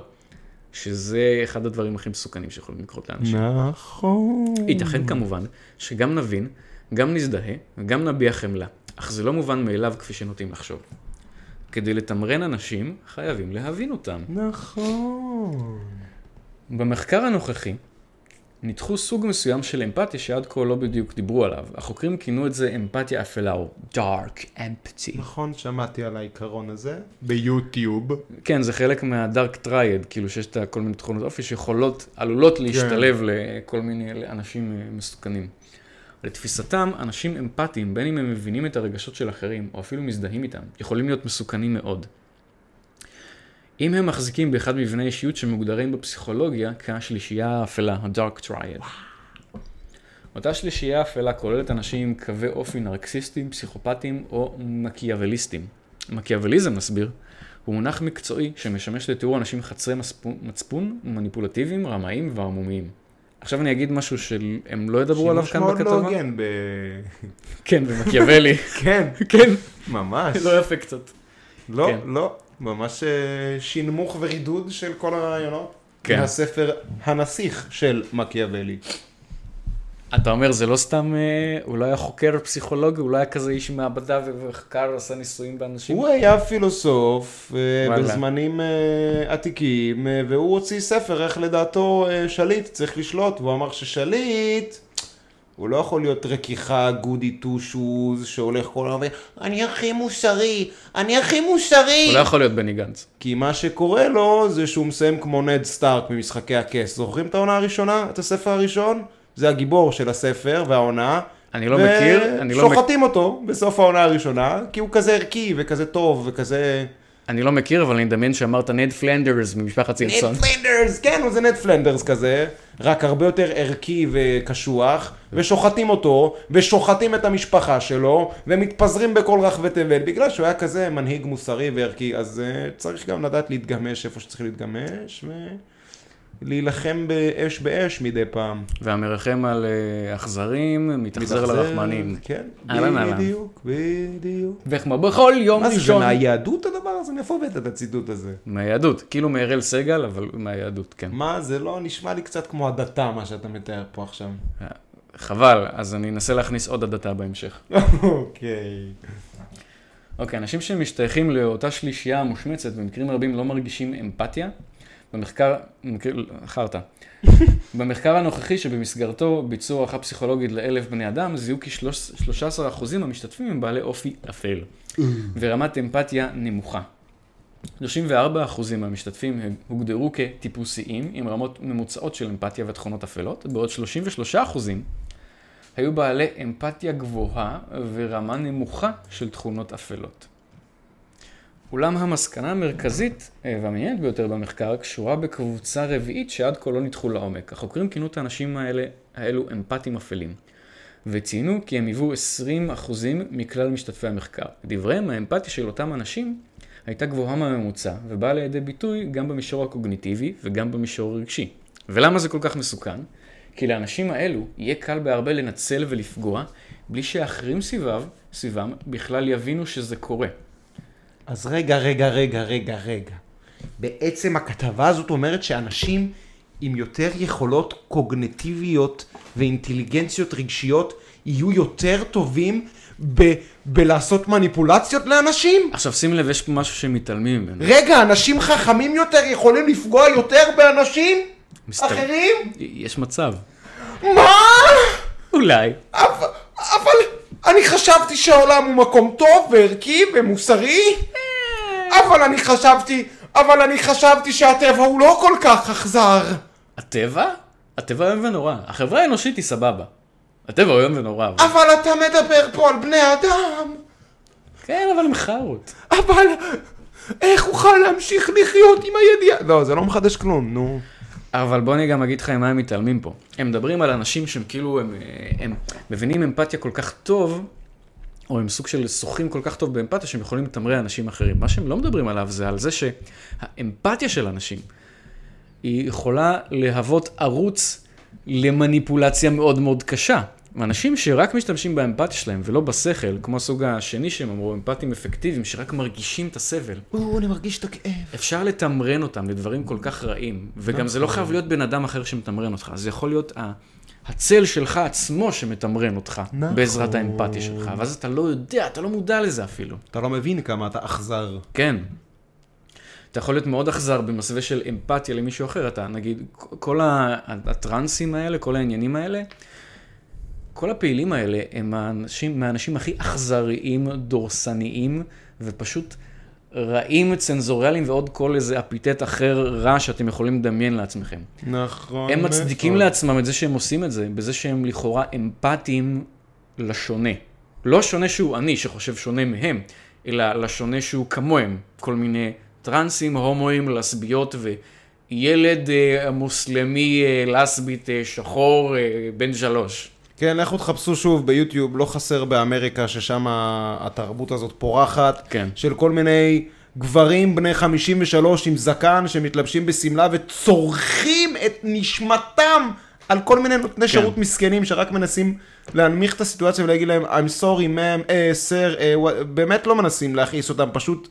שזה אחד הדברים הכי מסוכנים שיכולים לקרות לאנשים.
נכון.
ייתכן כמובן שגם נבין, גם נזדהה, גם נביע חמלה, אך זה לא מובן מאליו כפי שנוטים לחשוב. כדי לתמרן אנשים, חייבים להבין אותם.
נכון.
במחקר הנוכחי ניתחו סוג מסוים של אמפתיה שעד כה לא בדיוק דיברו עליו. החוקרים כינו את זה אמפתיה אפלה או Dark Empty.
נכון, שמעתי על העיקרון הזה ביוטיוב.
כן, זה חלק מהדארק טרייד, כאילו שיש את ה- כל מיני תכונות אופי שיכולות, עלולות להשתלב לכל מיני אנשים אה, מסוכנים. לתפיסתם, אנשים אמפתיים, בין אם הם מבינים את הרגשות של אחרים, או אפילו מזדהים איתם, יכולים להיות מסוכנים מאוד. אם הם מחזיקים באחד מבני אישיות שמוגדרים בפסיכולוגיה כהשלישייה האפלה, ה-dark triad. אותה שלישייה אפלה כוללת אנשים עם קווי אופי נרקסיסטים, פסיכופטים או מקיאווליסטים. מקיאווליזם, נסביר, הוא מונח מקצועי שמשמש לתיאור אנשים חסרי מצפון- מצפון, מניפולטיביים, רמאים וערמומיים. עכשיו אני אגיד משהו שהם לא ידברו עליו כאן
שימוש מאוד
בכתבה.
לא הוגן ב...
כן, במקיאוולי.
כן,
כן,
ממש.
לא יפה קצת.
לא,
כן.
לא. ממש אה, שינמוך ורידוד של כל הרעיונות.
כן.
מהספר הנסיך של מקיאוולי.
אתה אומר, זה לא סתם, אה, הוא לא היה חוקר פסיכולוגי, הוא לא היה כזה איש מעבדה ו- וחקר, עשה ניסויים באנשים.
הוא היה פילוסוף אה,
וואלה.
בזמנים אה, עתיקים, אה, והוא הוציא ספר איך לדעתו אה, שליט צריך לשלוט, והוא אמר ששליט... הוא לא יכול להיות רכיחה גודי טו שוז שהולך כל היום ו- אני הכי מוסרי, אני הכי מוסרי.
הוא לא יכול להיות בני גנץ.
כי מה שקורה לו זה שהוא מסיים כמו נד סטארק ממשחקי הכס. זוכרים את העונה הראשונה? את הספר הראשון? זה הגיבור של הספר והעונה.
אני לא מכיר, אני לא, מכ...
ושוחטים אותו בסוף העונה הראשונה, כי הוא כזה ערכי וכזה טוב וכזה...
אני לא מכיר, אבל אני מדמיין שאמרת נד פלנדרס ממשפחת
נד
סילסון.
פלנדרס, כן, הוא זה נד פלנדרס כזה, רק הרבה יותר ערכי וקשוח, ושוחטים אותו, ושוחטים את המשפחה שלו, ומתפזרים בכל רחבי תבל, בגלל שהוא היה כזה מנהיג מוסרי וערכי, אז uh, צריך גם לדעת להתגמש איפה שצריך להתגמש, ולהילחם באש באש מדי פעם.
והמרחם על אה, אכזרים, מתאכזר לרחמנים.
כן,
אהלן, אהלן.
בדיוק, בדיוק.
וכמו בכל יום
מה זה, זה
ראשון.
מהיהדות הדבר הזה? מאיפה הבאת את הציטוט הזה?
מהיהדות, כאילו מאראל סגל, אבל מהיהדות, כן.
מה, זה לא נשמע לי קצת כמו הדתה, מה שאתה מתאר פה עכשיו.
חבל, אז אני אנסה להכניס עוד הדתה בהמשך.
אוקיי.
אוקיי, אנשים שמשתייכים לאותה שלישייה המושמצת במקרים רבים לא מרגישים אמפתיה. במחקר, במקר- חרטא. במחקר הנוכחי שבמסגרתו ביצעו הערכה פסיכולוגית לאלף בני אדם, זיהו כי שלוש- 13% מהמשתתפים הם בעלי אופי אפל ורמת אמפתיה נמוכה. 34% מהמשתתפים הם- הוגדרו כטיפוסיים עם רמות ממוצעות של אמפתיה ותכונות אפלות, בעוד 33% היו בעלי אמפתיה גבוהה ורמה נמוכה של תכונות אפלות. אולם המסקנה המרכזית אה, והמעניינת ביותר במחקר קשורה בקבוצה רביעית שעד כה לא ניתחו לעומק. החוקרים כינו את האנשים האלה, האלו אמפתים אפלים, וציינו כי הם היוו 20% מכלל משתתפי המחקר. לדבריהם, האמפתיה של אותם אנשים הייתה גבוהה מהממוצע, ובאה לידי ביטוי גם במישור הקוגניטיבי וגם במישור הרגשי. ולמה זה כל כך מסוכן? כי לאנשים האלו יהיה קל בהרבה לנצל ולפגוע, בלי שאחרים סביבם, סביבם בכלל יבינו שזה קורה.
אז רגע, רגע, רגע, רגע, רגע. בעצם הכתבה הזאת אומרת שאנשים עם יותר יכולות קוגנטיביות ואינטליגנציות רגשיות יהיו יותר טובים ב- בלעשות מניפולציות לאנשים?
עכשיו שים לב, יש פה משהו שמתעלמים ממנו.
רגע, אנשים חכמים יותר יכולים לפגוע יותר באנשים?
מסתבר.
אחרים?
יש מצב.
מה?
אולי.
אבל, אבל אני חשבתי שהעולם הוא מקום טוב וערכי ומוסרי, אבל אני חשבתי, אבל אני חשבתי שהטבע הוא לא כל כך אכזר.
הטבע? הטבע איום ונורא. החברה האנושית היא סבבה. הטבע הוא איום ונורא. אבל-
אבל אתה מדבר פה על בני אדם.
כן, אבל הם חארות.
אבל איך אוכל להמשיך לחיות עם הידיעה? לא, זה לא מחדש כלום, נו.
אבל בוא אני גם אגיד לך עם מה הם מתעלמים פה. הם מדברים על אנשים שהם כאילו, הם, אה, הם מבינים אמפתיה כל כך טוב, או הם סוג של שוחים כל כך טוב באמפתיה, שהם יכולים לתמרא אנשים אחרים. מה שהם לא מדברים עליו זה על זה שהאמפתיה של אנשים, היא יכולה להוות ערוץ למניפולציה מאוד מאוד קשה. אנשים שרק משתמשים באמפתיה שלהם ולא בשכל, כמו הסוג השני שהם אמרו, אמפתיים אפקטיביים, שרק מרגישים את הסבל,
או, אני מרגיש את הכאב.
אפשר לתמרן אותם לדברים כל כך רעים, וגם זה לא חייב להיות בן אדם אחר שמתמרן אותך, זה יכול להיות ה- הצל שלך עצמו שמתמרן אותך,
נכון.
בעזרת האמפתיה שלך, ואז אתה לא יודע, אתה לא מודע לזה אפילו.
אתה לא מבין כמה אתה אכזר.
כן. אתה יכול להיות מאוד אכזר במסווה של אמפתיה למישהו אחר, אתה נגיד, כל ה- הטרנסים האלה, כל העניינים האלה, כל הפעילים האלה הם האנשים, מהאנשים הכי אכזריים, דורסניים, ופשוט רעים, צנזוריאליים, ועוד כל איזה אפיתט אחר רע שאתם יכולים לדמיין לעצמכם.
נכון.
הם מצדיקים
מאוד.
לעצמם את זה שהם עושים את זה, בזה שהם לכאורה אמפתיים לשונה. לא שונה שהוא אני, שחושב שונה מהם, אלא לשונה שהוא כמוהם. כל מיני טרנסים, הומואים, לסביות וילד אה, מוסלמי, אה, לסבית, אה, שחור, אה, בן שלוש.
כן, לכו תחפשו שוב ביוטיוב, לא חסר באמריקה, ששם התרבות הזאת פורחת.
כן.
של כל מיני גברים בני 53 עם זקן, שמתלבשים בשמלה וצורכים את נשמתם על כל מיני נותני
כן.
שירות מסכנים, שרק מנסים להנמיך את הסיטואציה ולהגיד להם, I'm sorry, ma'am, אה, sir, אה, what-" באמת לא מנסים להכעיס אותם, פשוט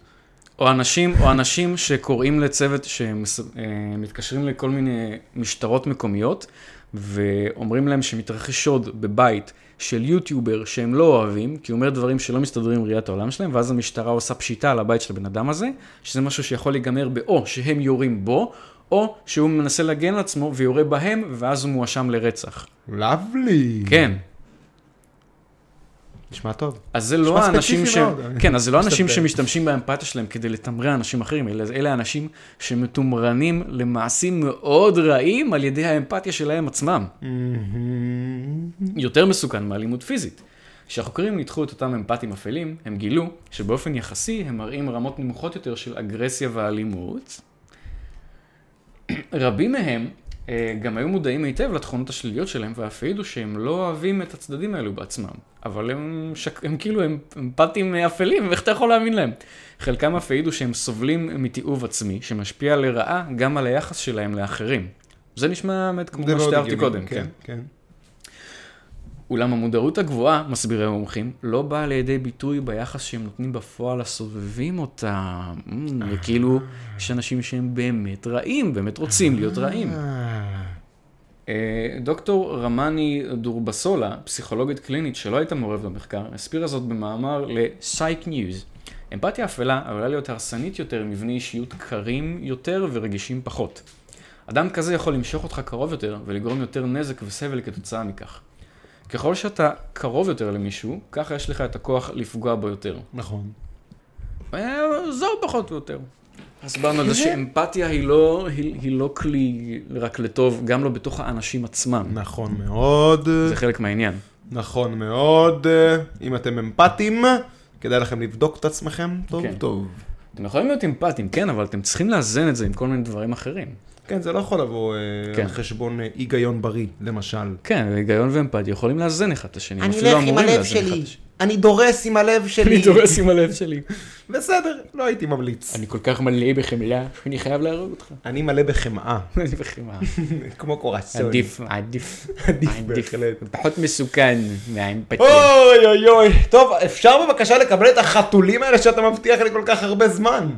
או אנשים, או אנשים שקוראים לצוות, שמתקשרים לכל מיני משטרות מקומיות, ואומרים להם שמתרחש שוד בבית של יוטיובר שהם לא אוהבים, כי הוא אומר דברים שלא מסתדרים עם ראיית העולם שלהם, ואז המשטרה עושה פשיטה על הבית של הבן אדם הזה, שזה משהו שיכול להיגמר באו שהם יורים בו, או שהוא מנסה להגן על עצמו ויורה בהם, ואז הוא מואשם לרצח.
לאבלי.
כן.
נשמע טוב.
אז זה לא
נשמע ספציפי
האנשים ש...
מאוד.
כן, אז זה לא אנשים
מסתבר.
שמשתמשים באמפתיה שלהם כדי לתמרן אנשים אחרים, אלא אלה אנשים שמתומרנים למעשים מאוד רעים על ידי האמפתיה שלהם עצמם. יותר מסוכן מאלימות פיזית. כשהחוקרים ניתחו את אותם אמפתים אפלים, הם גילו שבאופן יחסי הם מראים רמות נמוכות יותר של אגרסיה ואלימות. רבים מהם אה, גם היו מודעים היטב לתכונות השליליות שלהם ואף העידו שהם לא אוהבים את הצדדים האלו בעצמם. אבל הם, שק... הם כאילו הם אמפתים אפלים, ואיך אתה יכול להאמין להם? חלקם אף העידו שהם סובלים מתיעוב עצמי, שמשפיע לרעה גם על היחס שלהם לאחרים. זה נשמע באמת כמו
זה
מה
מאוד
שתיארתי
הגיוני,
קודם, כן.
כן.
אולם המודעות הגבוהה, מסבירי המומחים, לא באה לידי ביטוי ביחס שהם נותנים בפועל לסובבים אותם. אמ, וכאילו, יש אנשים שהם באמת רעים, באמת רוצים להיות רעים. אה, דוקטור רמני דורבסולה, פסיכולוגית קלינית שלא הייתה מעורבת במחקר, הסבירה זאת במאמר ל-Psych News. אמפתיה אפלה עלולה להיות הרסנית יותר מבני אישיות קרים יותר ורגישים פחות. אדם כזה יכול למשוך אותך קרוב יותר ולגרום יותר נזק וסבל כתוצאה מכך. ככל שאתה קרוב יותר למישהו, ככה יש לך את הכוח לפגוע בו יותר.
נכון.
אה, זהו פחות או יותר. הסברנו על זה שאמפתיה היא לא, היא, היא לא כלי רק לטוב, גם לא בתוך האנשים עצמם.
נכון מאוד.
זה חלק מהעניין.
נכון מאוד. אה, אם אתם אמפתיים, כדאי לכם לבדוק את עצמכם טוב
כן.
טוב.
אתם יכולים להיות אמפתיים, כן, אבל אתם צריכים לאזן את זה עם כל מיני דברים אחרים.
כן, זה לא יכול לבוא אה,
כן.
על חשבון אה, היגיון בריא, למשל.
כן, היגיון ואמפתיה יכולים לאזן אחד את השני. הם
אני
לא
אפילו
אלך עם
אמורים
הלב
לאזן אחד
שלי.
את השני.
אני דורס עם הלב
אני
שלי.
דורס עם הלב שלי.
בסדר, לא הייתי ממליץ.
אני כל כך מלא בחמלה, שאני חייב להרוג אותך.
אני מלא בחמאה,
אני בחמאה.
כמו קורסון.
עדיף, עדיף. כן.
עדיף בהחלט.
פחות מסוכן מהאמפתיה.
אוי אוי אוי. טוב, אפשר בבקשה לקבל את החתולים האלה שאתה מבטיח לי כל כך הרבה זמן?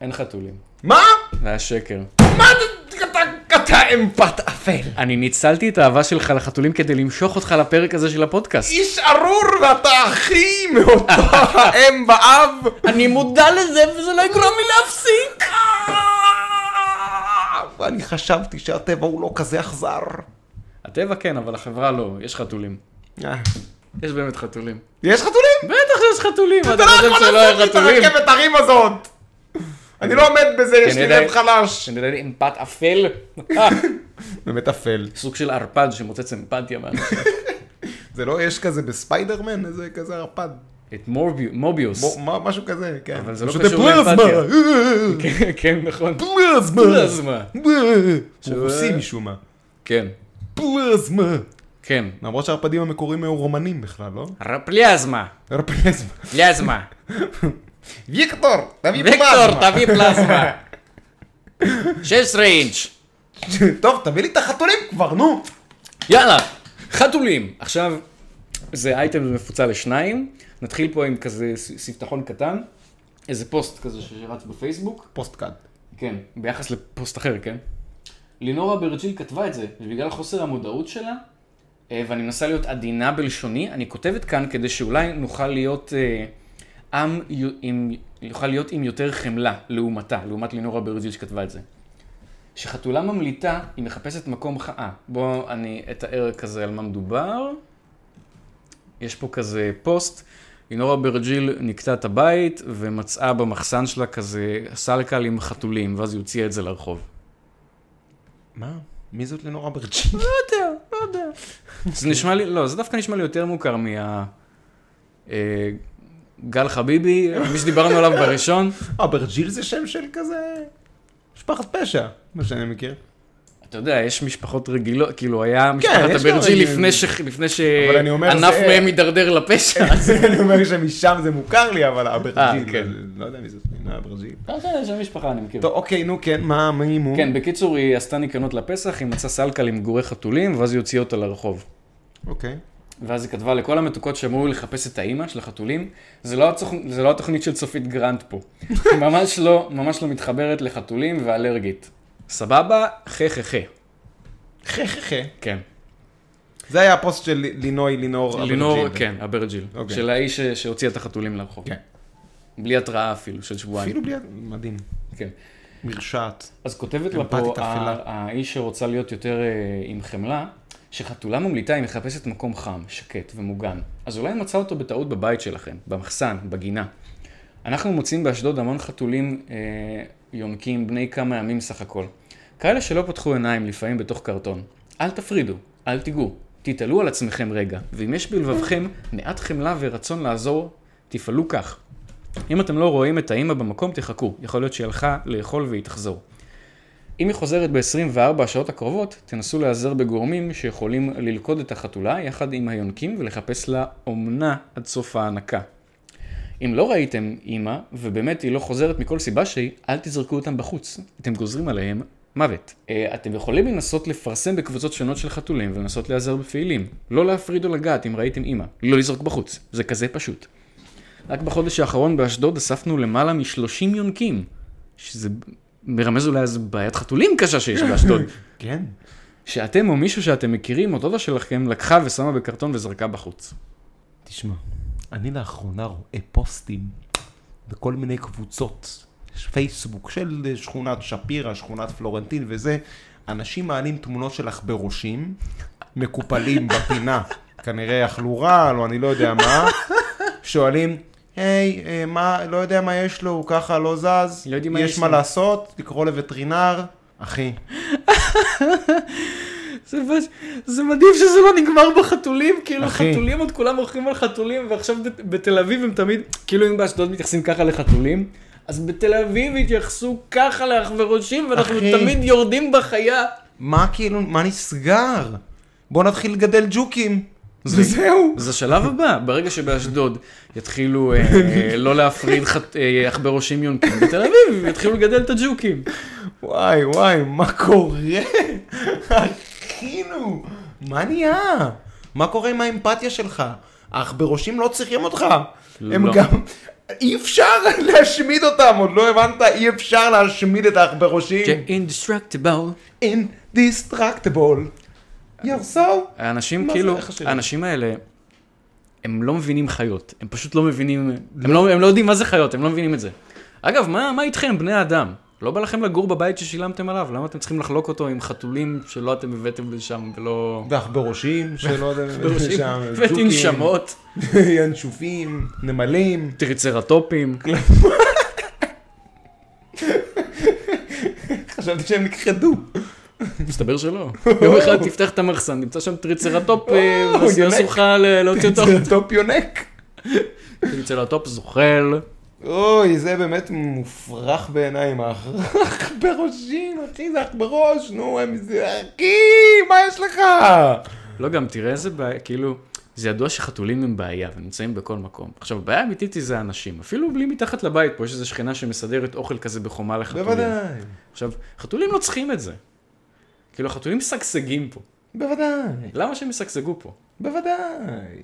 אין חתולים.
מה?
זה היה שקר.
מה אתה- אתה- אתה אמפת אפל?
אני ניצלתי את האהבה שלך לחתולים כדי למשוך אותך לפרק הזה של הפודקאסט.
איש ארור ואתה אחי מאותו האם ואב.
אני מודע לזה וזה לא יגרום לי להפסיק.
ואני חשבתי שהטבע הוא לא כזה אכזר.
הטבע כן, אבל החברה לא, יש חתולים.
אה.
יש באמת חתולים.
יש חתולים?
בטח שיש חתולים, אתה
אתה לא
חושב
יכול
שלא
לעשות לי
היה
את
חתולים?
הרכבת הרים הזאת. אני לא עומד בזה, יש
אני
לי
יודע-
לב חלש.
שאני יודע, אמפת אפל? אה,
באמת אפל.
סוג של ערפד שמוצץ אמפתיה. מה-
זה לא, יש כזה בספיידרמן? איזה כזה ערפד.
את מורביו- מוביוס.
בוא, מה- משהו כזה, כן.
אבל זה לא
פשוט
קשור
הפלזמה.
לאמפתיה. כן, כן, נכון.
פלזמה.
פלזמה.
הוא רוסי משום מה.
כן,
פלזמה.
כן.
למרות שהערפדים המקוריים היו רומנים בכלל, לא?
רפליאזמה.
פלזמה.
פליאזמה.
ויקטור, תביא
ויקטור,
פלזמה.
תביא פלזמה. 16 אינץ'.
טוב, תביא לי את החתולים כבר, נו.
יאללה, חתולים. עכשיו, זה אייטם מפוצל לשניים. נתחיל פה עם כזה ס- ספתחון קטן. איזה פוסט כזה שרץ בפייסבוק.
פוסטקאט.
כן, ביחס לפוסט אחר, כן? לינורה ברג'יל כתבה את זה, ובגלל חוסר המודעות שלה, אה, ואני מנסה להיות עדינה בלשוני, אני כותבת כאן כדי שאולי נוכל להיות אה, עם, יו- עם, נוכל להיות עם יותר חמלה לעומתה, לעומת לינורה ברג'יל שכתבה את זה. שחתולה ממליטה, היא מחפשת מקום ח... אה, בואו אני אתאר כזה על מה מדובר. יש פה כזה פוסט, לינורה ברג'יל נקטה את הבית ומצאה במחסן שלה כזה סלקל עם חתולים, ואז היא הוציאה את זה לרחוב.
מה? מי זאת לנורה ברג'יל?
לא יודע, לא יודע.
אוקיי.
זה נשמע לי, לא, זה דווקא נשמע לי יותר מוכר מה... אה, גל חביבי, מי שדיברנו עליו בראשון.
אה, ברג'יל זה שם של כזה... משפחת פשע, מה שאני מכיר.
אה, אתה יודע, יש משפחות רגילות, כאילו היה
כן, יש
משפחת
גם
הברג'י
רגיל.
לפני ש- לפני
אבל אני אומר,
שענף
זה- כן.
מהם הידרדר לפשע.
אז אני אומר שמשם זה מוכר לי, אבל
אה,
הברג'יל,
כן.
לא יודע מי זאת לינה ברג'יל.
לא יודע, יש שם משפחה, אני מכיר.
טוב, אוקיי, נו כן, מה, מה אם הוא?
כן, בקיצור, היא עשתה ניקיונות לפסח, היא מצאה סלקל עם גורי חתולים, ואז היא הוציאה אותה לרחוב.
אוקיי.
ואז היא כתבה לכל המתוקות שאמרו לי לחפש את האימא של החתולים, זה לא, הצוכ... זה לא התוכנית של צופית גרנט פה. היא ממש לא, ממש לא מתחברת לחתולים ואלרגית. סבבה? חה חה חה.
חה חה חה.
כן.
זה היה הפוסט של לינוי לינור.
לינור,
הברג'יל.
כן, הברג'יל.
אוקיי.
של האיש ש... שהוציא את החתולים לרחוב.
כן.
בלי התראה אפילו, של שבועיים.
אפילו בלי... ה- מדהים.
כן.
מרשעת.
אז כותבת לה פה
אמפתית אפלה.
ה- האיש שרוצה להיות יותר אה, עם חמלה, שחתולה ממליטה היא מחפשת מקום חם, שקט ומוגן. אז אולי מצא אותו בטעות בבית שלכם, במחסן, בגינה. אנחנו מוצאים באשדוד המון חתולים אה, יונקים בני כמה ימים סך הכל. כאלה שלא פתחו עיניים לפעמים בתוך קרטון. אל תפרידו, אל תיגעו, תתעלו על עצמכם רגע, ואם יש בלבבכם מעט חמלה ורצון לעזור, תפעלו כך. אם אתם לא רואים את האימא במקום, תחכו, יכול להיות שהיא הלכה לאכול והיא תחזור. אם היא חוזרת ב-24 השעות הקרובות, תנסו להיעזר בגורמים שיכולים ללכוד את החתולה יחד עם היונקים ולחפש לה אומנה עד סוף ההנקה. אם לא ראיתם אימא, ובאמת היא לא חוזרת מכל סיבה שהיא, אל תזרקו אותם בחוץ. אתם גוזרים עליהם מוות. אה, אתם יכולים לנסות לפרסם בקבוצות שונות של חתולים ולנסות להיעזר בפעילים. לא להפריד או לגעת אם ראיתם אימא. לא לזרוק בחוץ. זה כזה פשוט. רק בחודש האחרון באשדוד אספנו למעלה מ-30 יונקים, שזה מרמז אולי אז בעיית חתולים קשה שיש באשדוד.
כן.
שאתם או מישהו שאתם מכירים, או דודה שלכם, לקחה ושמה בקרטון וזרקה בחוץ.
תשמע, אני לאחרונה רואה פוסטים בכל מיני קבוצות, יש פייסבוק של אה, שכונת שפירא, שכונת פלורנטין וזה, אנשים מעלים תמונות של עכברושים, מקופלים בפינה, כנראה אכלו רעל או אני לא יודע מה, שואלים, היי, אה, מה, לא יודע מה יש לו, הוא ככה לא זז,
לא יודעים מה יש
יש מה
לו."
לעשות, לקרוא לווטרינר, אחי,
זה, זה מדהים שזה לא נגמר בחתולים, כאילו
אחי.
חתולים עוד כולם הולכים על חתולים, ועכשיו בת- בתל אביב הם תמיד, כאילו אם באשדוד מתייחסים ככה לחתולים, אז בתל אביב יתייחסו ככה לאחברושים, ואנחנו
אחי.
תמיד יורדים בחיה.
מה כאילו, מה נסגר? בוא נתחיל לגדל ג'וקים, וזהו.
אז השלב הבא, ברגע שבאשדוד יתחילו אה, אה, לא להפריד חת- אה, עכברושים יונקים בתל אביב, יתחילו לגדל את הג'וקים.
וואי וואי, מה קורה? אחינו, מה נהיה? מה קורה עם האמפתיה שלך? אך בראשים לא צריכים אותך. הם
לא.
גם... אי אפשר להשמיד אותם, עוד לא הבנת? אי אפשר להשמיד את האח
כן.
בראשים.
אינדסטרקטיבל.
Indestructible. You're so...
האנשים
מה זה,
כאילו,
איך השאלה?
האנשים האלה, הם לא מבינים חיות, הם פשוט לא מבינים, הם לא הם לא יודעים מה זה חיות, הם לא מבינים את זה. אגב, מה מה איתכם, בני האדם? לא בא לכם לגור בבית ששילמתם עליו, למה אתם צריכים לחלוק אותו עם חתולים שלא אתם הבאתם לשם ולא...
ואח בראשים, שלא יודע...
עכברושים?
שם,
הבאתי
ג'וקים,
נשמות,
ינשופים, נמלים.
טריצרטופים.
חשבתי שהם נכחדו.
מסתבר שלא. יום אחד תפתח את המחסן, נמצא שם טריצרטופ, אה,
וואו,
ואז
יונק.
יעשו לך ל- להוציא אותו.
זה טופ יונק.
פינצלוטופ זוחל.
אוי, זה באמת מופרך בעיניים, האח בראשים, אחי, זה אח בראש, נו, הם זה, אחי, מה יש לך?
לא, גם תראה איזה בעיה, כאילו, זה ידוע שחתולים הם בעיה ונמצאים בכל מקום. עכשיו, הבעיה האמיתית היא זה האנשים. אפילו בלי מתחת לבית, פה יש איזו שכנה שמסדרת אוכל כזה בחומה לחתולים.
בוודאי,
עכשיו, חתולים לא צריכים את זה. כאילו, החתולים משגשגים פה.
בוודאי,
למה שהם ישגשגו פה?
בוודאי.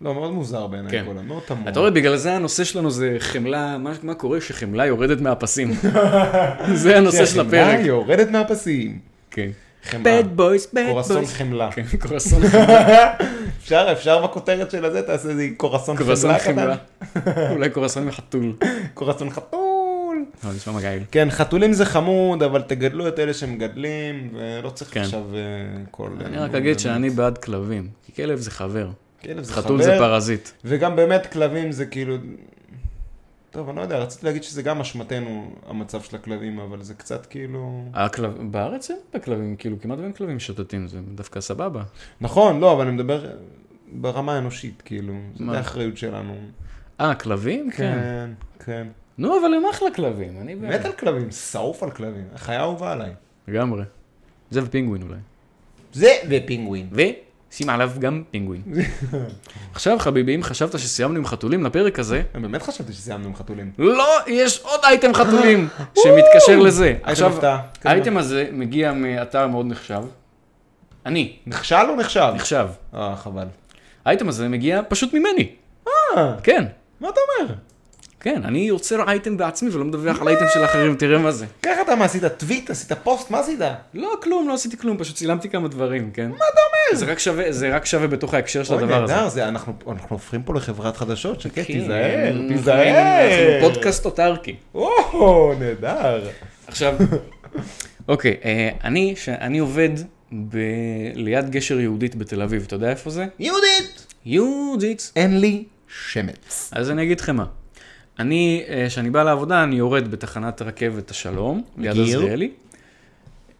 לא, מאוד מוזר בעיניי
כן.
כל המאוד תמוה.
אתה רואה, בגלל זה הנושא שלנו זה חמלה, מה, מה קורה כשחמלה יורדת מהפסים? זה הנושא של
שהחמאה
הפרק.
יורדת מהפסים.
כן.
חמאה.
bad boys, bad
קורסון
boys.
חמלה.
כן, קורסון
אפשר, אפשר בכותרת של הזה, תעשה איזה קורסון חמלה
קורסון חמלה.
קטן.
אולי קורסון מחתול.
קורסון חתול.
אבל נשמע מגעיל.
כן, חתולים זה חמוד, אבל תגדלו את אלה שמגדלים, ולא צריך
כן.
עכשיו אה, כל...
אני רק אגיד שאני בעד כלבים, כי כלב זה חבר.
כלב כאילו, זה
חתול זה
חבר,
פרזיט.
וגם באמת כלבים זה כאילו... טוב, אני לא יודע, רציתי להגיד שזה גם אשמתנו, המצב של הכלבים, אבל זה קצת כאילו...
הכלב- בארץ אין הרבה כלבים, כאילו כמעט ואין כלבים שוטטים, זה דווקא סבבה.
נכון, לא, אבל אני מדבר ברמה האנושית, כאילו.
מה?
זו האחריות שלנו.
אה, כלבים? כן.
כן, כן.
נו, אבל הם אחלה כלבים, אני
מת
בעד.
על כלבים, שרוף על כלבים, חיה אהובה עליי.
לגמרי. זה ופינגווין אולי.
זה ופינגווין.
ושים עליו גם פינגווין. עכשיו חביבי, אם חשבת שסיימנו עם חתולים לפרק הזה,
באמת חשבתי שסיימנו עם חתולים.
לא, יש עוד אייטם חתולים שמתקשר לזה. עכשיו,
הפתעה, קדימה.
האייטם הזה מגיע מאתר מאוד נחשב. אני,
נכשל או נחשב?
נחשב.
אה, חבל.
האייטם הזה מגיע פשוט ממני.
אה,
כן,
מה אתה אומר?
כן, אני יוצר אייטם בעצמי ולא מדווח על אייטם של אחרים, תראה מה זה.
ככה אתה מה עשית? טוויט? עשית פוסט? מה עשית?
לא, כלום, לא עשיתי כלום, פשוט צילמתי כמה דברים, כן? מה אתה אומר? זה רק שווה, זה רק שווה בתוך ההקשר של הדבר הזה.
נהדר, זה- אנחנו אנחנו הופכים פה לחברת חדשות, שקט,
כן,
תיזהר,
אנחנו-
תיזהר.
אנחנו פודקאסט אוטרקי.
או, נהדר.
עכשיו, אוקיי, אה, אני, שאני עובד ב... ליד גשר יהודית בתל אביב, אתה יודע איפה זה?
יהודית!
יהודית.
אין לי שמץ.
אז אני אגיד לכם מה. אני, אה, כשאני בא לעבודה, אני יורד בתחנת רכבת השלום, ליד
מכיר.
עזריאלי.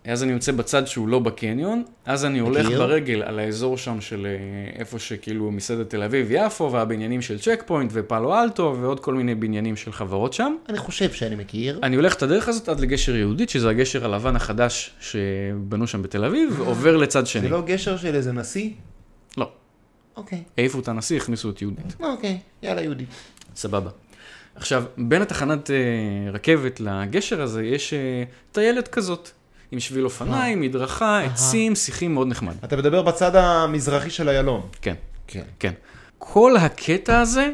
אז אני יוצא בצד שהוא לא בקניון, אז אני הולך
מכיר.
ברגל על האזור שם של אה, איפה שכאילו מסעדת תל אביב-יפו, והבניינים של צ'ק פוינט ופאלו אלטו, ועוד כל מיני בניינים של חברות שם.
אני חושב שאני מכיר.
אני הולך את הדרך הזאת עד לגשר יהודית, שזה הגשר הלבן החדש שבנו שם בתל אביב, עובר לצד
זה
שני.
לא גשר של איזה נשיא?
לא.
אוקיי.
העיפו את הנשיא, הכניסו את יהודית.
אוקיי, יאללה יהודית.
סבבה. עכשיו, בין התחנת אה, רכבת לגשר הזה יש אה, טיילת כזאת, עם שביל אופניים, מדרכה, עצים, שיחים מאוד נחמד.
אתה מדבר בצד המזרחי של איילון.
כן,
כן.
כן. כל הקטע הזה,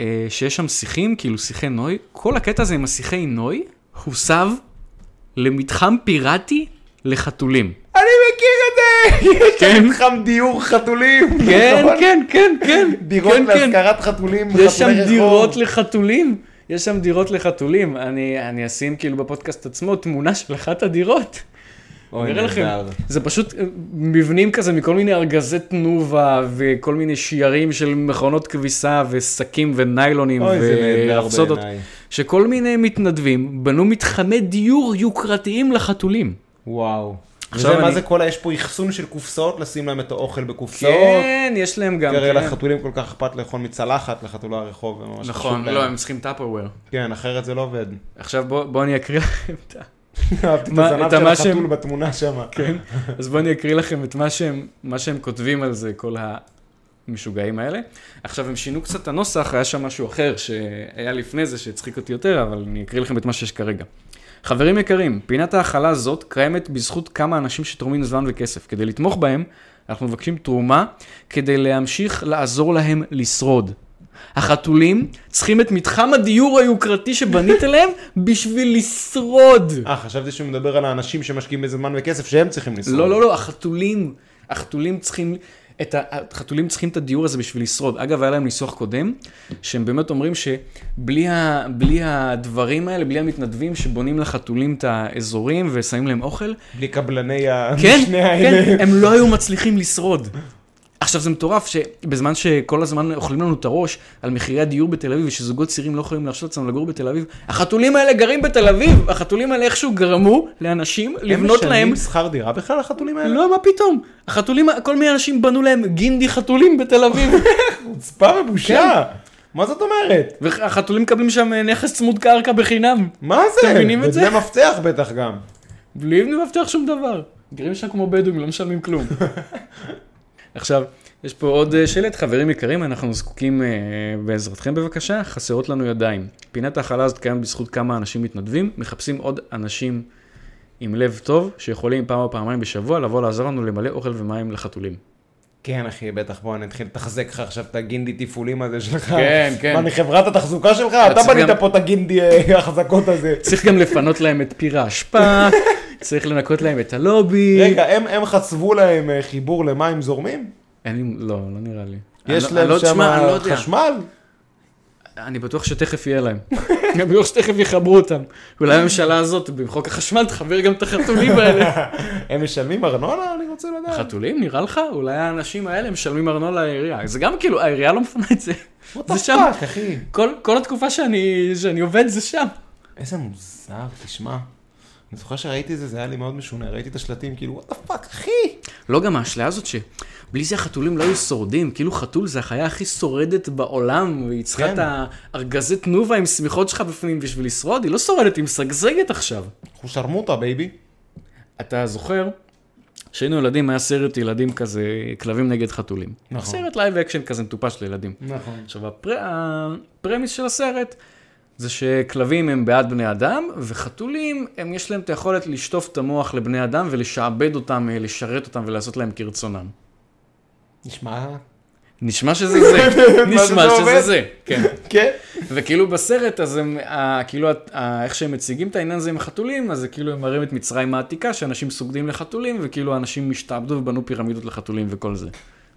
אה, שיש שם שיחים, כאילו שיחי נוי, כל הקטע הזה עם השיחי נוי, הוסב למתחם פיראטי לחתולים.
אני מכיר את זה! יש
כן.
שם מתחם דיור חתולים.
כן,
נכון?
כן, כן, כן.
דירות
כן, כן.
להשכרת חתולים.
יש שם
חתולי רחוב.
דירות לחתולים. יש שם דירות לחתולים. אני, אני אשים כאילו בפודקאסט עצמו תמונה של אחת הדירות.
אוי,
נראה לכם.
נהדר.
זה פשוט אה, מבנים כזה מכל מיני ארגזי תנובה וכל מיני שיערים של מכונות כביסה ושקים וניילונים
אוי, זה נהדר
ורפסודות.
בעיניי.
שכל מיני מתנדבים בנו מתחמי דיור יוקרתיים לחתולים.
וואו.
עכשיו
וזה מה
אני-
זה כל ה... יש פה אחסון של קופסאות, לשים להם את האוכל בקופסאות.
כן, יש להם גם.
כי הרי
כן.
לחתולים כל כך אכפת לאכול מצלחת, לחתולי הרחוב. הם ממש
נכון,
חשוב להם.
לא, הם צריכים טאפרוור.
כן, אחרת זה לא עובד.
עכשיו בוא, בוא אני אקריא לכם את ה...
אהבתי את
מה-
הזנב
את מה
של
שהם-
החתול בתמונה שם.
כן? אז בואו אני אקריא לכם את מה שהם, מה שהם כותבים על זה, כל המשוגעים האלה. עכשיו, הם שינו קצת את הנוסח, היה שם משהו אחר שהיה לפני זה שהצחיק אותי יותר, אבל אני אקריא לכם את מה שיש כרגע. חברים יקרים, פינת ההאכלה הזאת קיימת בזכות כמה אנשים שתורמים זמן וכסף. כדי לתמוך בהם, אנחנו מבקשים תרומה כדי להמשיך לעזור להם לשרוד. החתולים צריכים את מתחם הדיור היוקרתי שבנית להם בשביל לשרוד.
אה, חשבתי שהוא מדבר על האנשים שמשקיעים בזה זמן וכסף שהם צריכים לשרוד.
לא, לא, לא, החתולים, החתולים צריכים... את ה... החתולים צריכים את הדיור הזה בשביל לשרוד. אגב, היה להם ניסוח קודם, שהם באמת אומרים שבלי ה... בלי הדברים האלה, בלי המתנדבים שבונים לחתולים את האזורים ושמים להם אוכל,
בלי קבלני המשנה
כן,
האלה.
כן, הם לא היו מצליחים לשרוד. עכשיו זה מטורף שבזמן שכל הזמן אוכלים לנו את הראש על מחירי הדיור בתל אביב ושזוגות צעירים לא יכולים להרשות לעצמם לגור בתל אביב, החתולים האלה גרים בתל אביב, החתולים האלה איכשהו גרמו לאנשים לבנות
הם
להם...
משלמים שכר דירה בכלל החתולים האלה?
לא, מה פתאום? החתולים, כל מיני אנשים בנו להם גינדי חתולים בתל אביב,
חוצפה ובושה.
כן.
מה זאת אומרת?
והחתולים מקבלים שם אה, נכס צמוד קרקע בחינם,
מה זה?
אתם מבינים את זה?
ודמי מפתח בטח גם.
בלי מבטח שום דבר. גרים שם כמו בדואים, לא משלמים כלום. עכשיו, יש פה עוד אה, שלט, חברים יקרים, אנחנו זקוקים אה, בעזרתכם בבקשה, חסרות לנו ידיים. פינת ההכלה הזאת קיימת בזכות כמה אנשים מתנדבים, מחפשים עוד אנשים עם לב טוב, שיכולים פעם או פעמיים בשבוע לבוא לעזור לנו למלא אוכל ומים לחתולים.
כן אחי, בטח בוא נתחיל לתחזק לך עכשיו את הגינדי תפעולים הזה שלך.
כן, כן.
מה, אני חברת התחזוקה שלך? אתה
צריך גם-
בנית פה את הגינדי אה, החזקות הזה.
צריך גם לפנות להם את פיר האשפה, צריך לנקות להם את הלובי.
רגע, הם- הם חצבו להם אה, חיבור למים זורמים?
אין לי, לא, לא נראה לי.
יש
אני לא-
להם
אני לא-
שם אה,
תשמע, אני לא יודע.
חשמל?
אני בטוח שתכף יהיה להם. אני בטוח שתכף יחברו אותם. אולי הממשלה הזאת, בחוק החשמל, תחבר גם את החתולים האלה.
הם משלמים ארנונה? אני רוצה לדעת.
חתולים, נראה לך? אולי האנשים האלה משלמים ארנונה לעירייה. זה גם כאילו, העירייה לא מפנה את זה.
What the
זה שם.
fuck, אחי?
כל, כל התקופה שאני, שאני עובד זה שם.
איזה מוזר, תשמע. אני זוכר שראיתי את זה, זה היה לי מאוד משונה, ראיתי את השלטים, כאילו, what the fuck, אחי?
לא, גם האשליה הזאת שבלי זה החתולים לא היו שורדים. כאילו חתול זה החיה הכי שורדת בעולם, והיא צריכה
כן.
את הארגזי תנובה עם שמיכות שלך בפנים בשביל לשרוד. היא לא שורדת, היא משגשגת עכשיו.
אנחנו שרמוטה, בייבי.
אתה זוכר? כשהיינו ילדים היה סרט ילדים כזה, כלבים נגד חתולים.
נכון.
סרט לייב אקשן כזה מטופש לילדים.
נכון.
עכשיו, הפר... הפרמיס של הסרט זה שכלבים הם בעד בני אדם, וחתולים, הם יש להם את היכולת לשטוף את המוח לבני אדם ולשעבד אותם, אה, לשרת אותם ולעשות להם כרצונם.
נשמע...
נשמע שזה זה, נשמע
זה עובד?
שזה זה, כן.
כן.
וכאילו בסרט, אז הם, ה- כאילו, ה- איך שהם מציגים את העניין הזה עם החתולים, אז זה כאילו הם מראים את מצרים העתיקה, שאנשים סוגדים לחתולים, וכאילו אנשים השתעבדו ובנו פירמידות לחתולים וכל זה.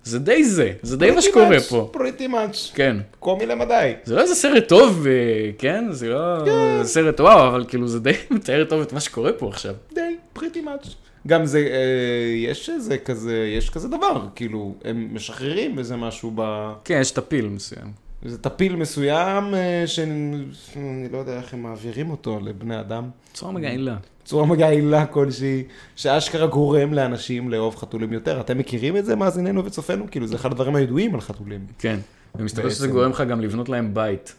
זה די זה, זה די מה שקורה פה.
פריטי מאץ'.
כן.
קומי למדי.
זה לא איזה סרט טוב, אה, כן? זה לא זה סרט וואו, אבל כאילו זה די מתאר טוב את מה שקורה פה עכשיו.
די, פריטי מאץ'. גם זה, אה, יש איזה כזה, יש כזה דבר, כאילו, הם משחררים איזה משהו ב...
כן, יש את הפיל מסוים.
איזה טפיל מסוים, אה, שאני לא יודע איך הם מעבירים אותו לבני אדם.
צורה מגעילה.
בצורה מגעילה כלשהי, שאשכרה גורם לאנשים לאהוב חתולים יותר. אתם מכירים את זה, מאזיננו וצופינו? כאילו, זה אחד הדברים הידועים על חתולים.
כן. ומסתבר שזה
בעצם.
גורם לך גם לבנות להם בית.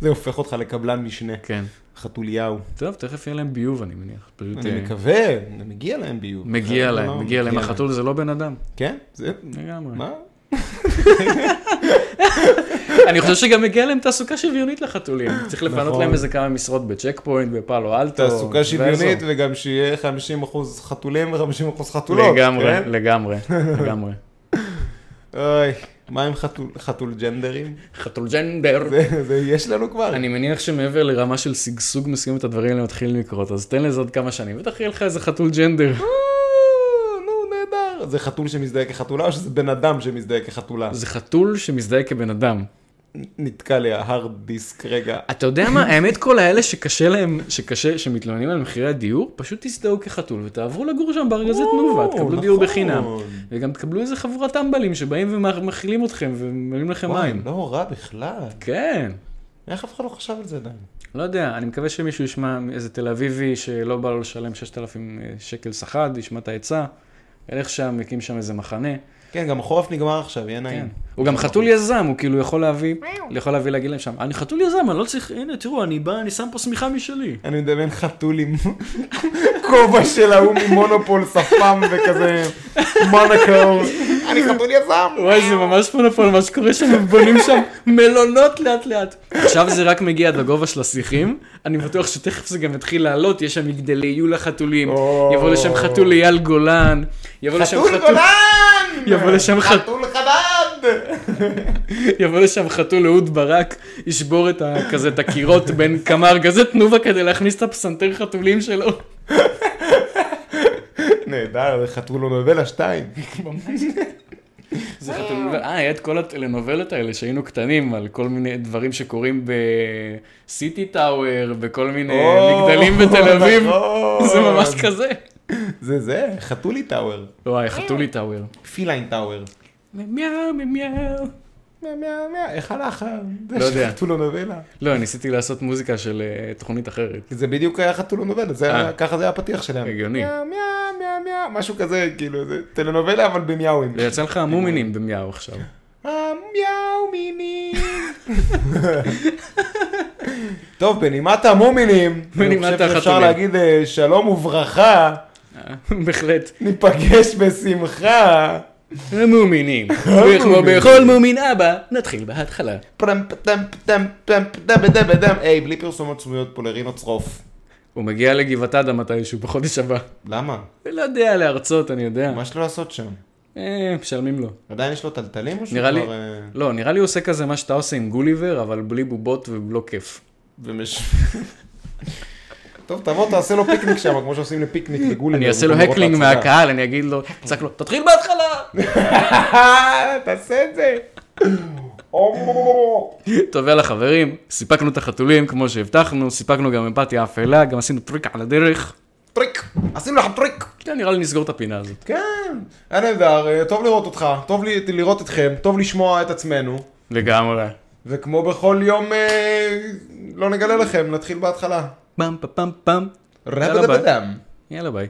זה הופך אותך לקבלן משנה,
כן.
חתוליהו.
טוב, תכף יהיה להם ביוב, אני מניח. פשוט...
אני
אה,
מקווה, מגיע להם ביוב.
מגיע
לא,
להם,
לא,
מגיע להם. החתול זה לא בן אדם.
כן? זה...
לגמרי.
מה?
אני חושב שגם מגיע להם תעסוקה שוויונית לחתולים. צריך לפנות
נכון.
להם איזה כמה משרות בצ'ק פוינט, בפאלו אלטו.
תעסוקה שוויונית,
ועזוב.
וגם שיהיה 50% חתולים ו-50% חתולות.
לגמרי,
כן?
לגמרי, לגמרי.
אוי, מה עם חתול- חתול ג'נדרים?
חתול ג'נדר.
זה- זה יש לנו כבר.
אני מניח שמעבר לרמה של שגשוג מסוימת הדברים האלה מתחילים לקרות, אז תן לזה עוד כמה שנים, בטח יהיה לך איזה חתול ג'נדר.
אה, נו, נהדר. זה חתול שמזדהה כחתולה, או שזה בן אדם שמזדהה כחתולה?
זה חתול שמזדהה כבן אדם.
נתקע לי ההארד דיסק רגע.
אתה יודע מה, האמת כל האלה שקשה להם, שקשה, שמתלוננים על מחירי הדיור, פשוט תזדהו כחתול ותעברו לגור שם בארגזי תנובה, תקבלו דיור
נכון.
בחינם. וגם תקבלו איזה חבורת טמבלים שבאים ומאכילים אתכם וממלאים לכם
וואי,
מים.
לא רע בכלל.
כן.
איך אף אחד לא חשב על זה עדיין?
לא יודע, אני מקווה שמישהו ישמע איזה תל אביבי שלא בא לו לשלם 6,000 שקל סחד, ישמע את העצה, ילך שם, יקים שם איזה מחנה.
כן, גם החורף נגמר עכשיו, יהיה
כן.
נעים.
הוא גם חתול יזם, הוא כאילו יכול להביא, יכול להביא להגיד להם שם, אני חתול יזם, אני לא צריך, הנה, תראו, אני בא, אני שם פה שמיכה משלי.
אני מדמיין חתול עם כובע של ההוא ממונופול שפם וכזה מונקו. אני חתול יזם.
וואי, זה ממש מונופול, מה שקורה שם, הם בונים שם מלונות לאט לאט. עכשיו זה רק מגיע עד הגובה של השיחים, אני בטוח שתכף זה גם יתחיל לעלות, יש שם מגדלי יול החתולים,
או.
יבוא לשם חתול אייל גולן, יבוא לשם
חתול
חתול...
גולן!
יבוא לשם חת-
חתול חדד!
יבוא לשם חתול אהוד ברק, ישבור את ה, כזה את הקירות בין כמה ארגזי תנובה כדי להכניס את הפסנתר חתולים שלו.
נהדר, זה חתול נובלה 2.
זה חתולים, אה, היה את כל הטלנובלות האלה שהיינו קטנים על כל מיני דברים שקורים בסיטי טאוור, בכל מיני מגדלים בתל אביב. זה ממש
נכון,
כזה. כן.
זה זה, חתולי טאוור.
וואי, לא, חתולי טאוור.
פיליין טאוור.
מיהו מיהו.
מאה, מאה, מאה, איך הלך? ה- זה
לא יודע.
של חתולונובלה.
לא, ניסיתי לעשות מוזיקה של אה, תוכנית אחרת.
זה בדיוק היה חתולונובלה, זה היה-
אה.
ככה זה היה הפתיח שלהם.
הגיוני.
מאה, מאה, מאה, מאה, משהו כזה, כאילו, זה טלנובלה אבל במיאווים.
ויצא לך המומינים במיהו עכשיו.
המיאו מינים. טוב, בנימת המומינים, אני
בנימת
חושב שאפשר
החתולים.
להגיד אה, שלום וברכה,
אה, בהחלט.
ניפגש בשמחה.
המומינים. וכמו בכל מומין אבא, נתחיל בהתחלה.
פדם פדם פדם פדם פדם פדם פדם. היי, בלי פרסומות סמויות פה לרינו צרוף.
הוא מגיע לגבעת עדה מתישהו בחודש הבא.
למה?
לא יודע, להרצות, אני יודע.
מה יש לו לעשות שם?
אה, משלמים לו.
עדיין יש לו טלטלים או שהוא
נראה לי,
כבר, אה,
לא, נראה לי הוא עושה כזה מה שאתה עושה עם גוליבר, אבל בלי בובות ובלא כיף.
ומש... טוב, תבוא, תעשה לו פיקניק שם, כמו שעושים לפיקניק לגולי.
אני אעשה לו הקלינג מהקהל, אני אגיד לו, צעק לו, תתחיל בהתחלה!
תעשה את זה.
תובע לחברים, סיפקנו את החתולים כמו שהבטחנו, סיפקנו גם אמפתיה אפלה, גם עשינו טריק על הדרך.
טריק, עשינו לך טריק.
כן, נראה לי נסגור את הפינה הזאת.
כן, היה נהדר, אה, טוב לראות אותך, טוב לי- לראות אתכם, טוב לשמוע את עצמנו,
לגמרי.
וכמו בכל יום, אה, לא נגלה לכם, נתחיל בהתחלה.
פעם פעם פעם.
רבדבדם.
יאללה ביי.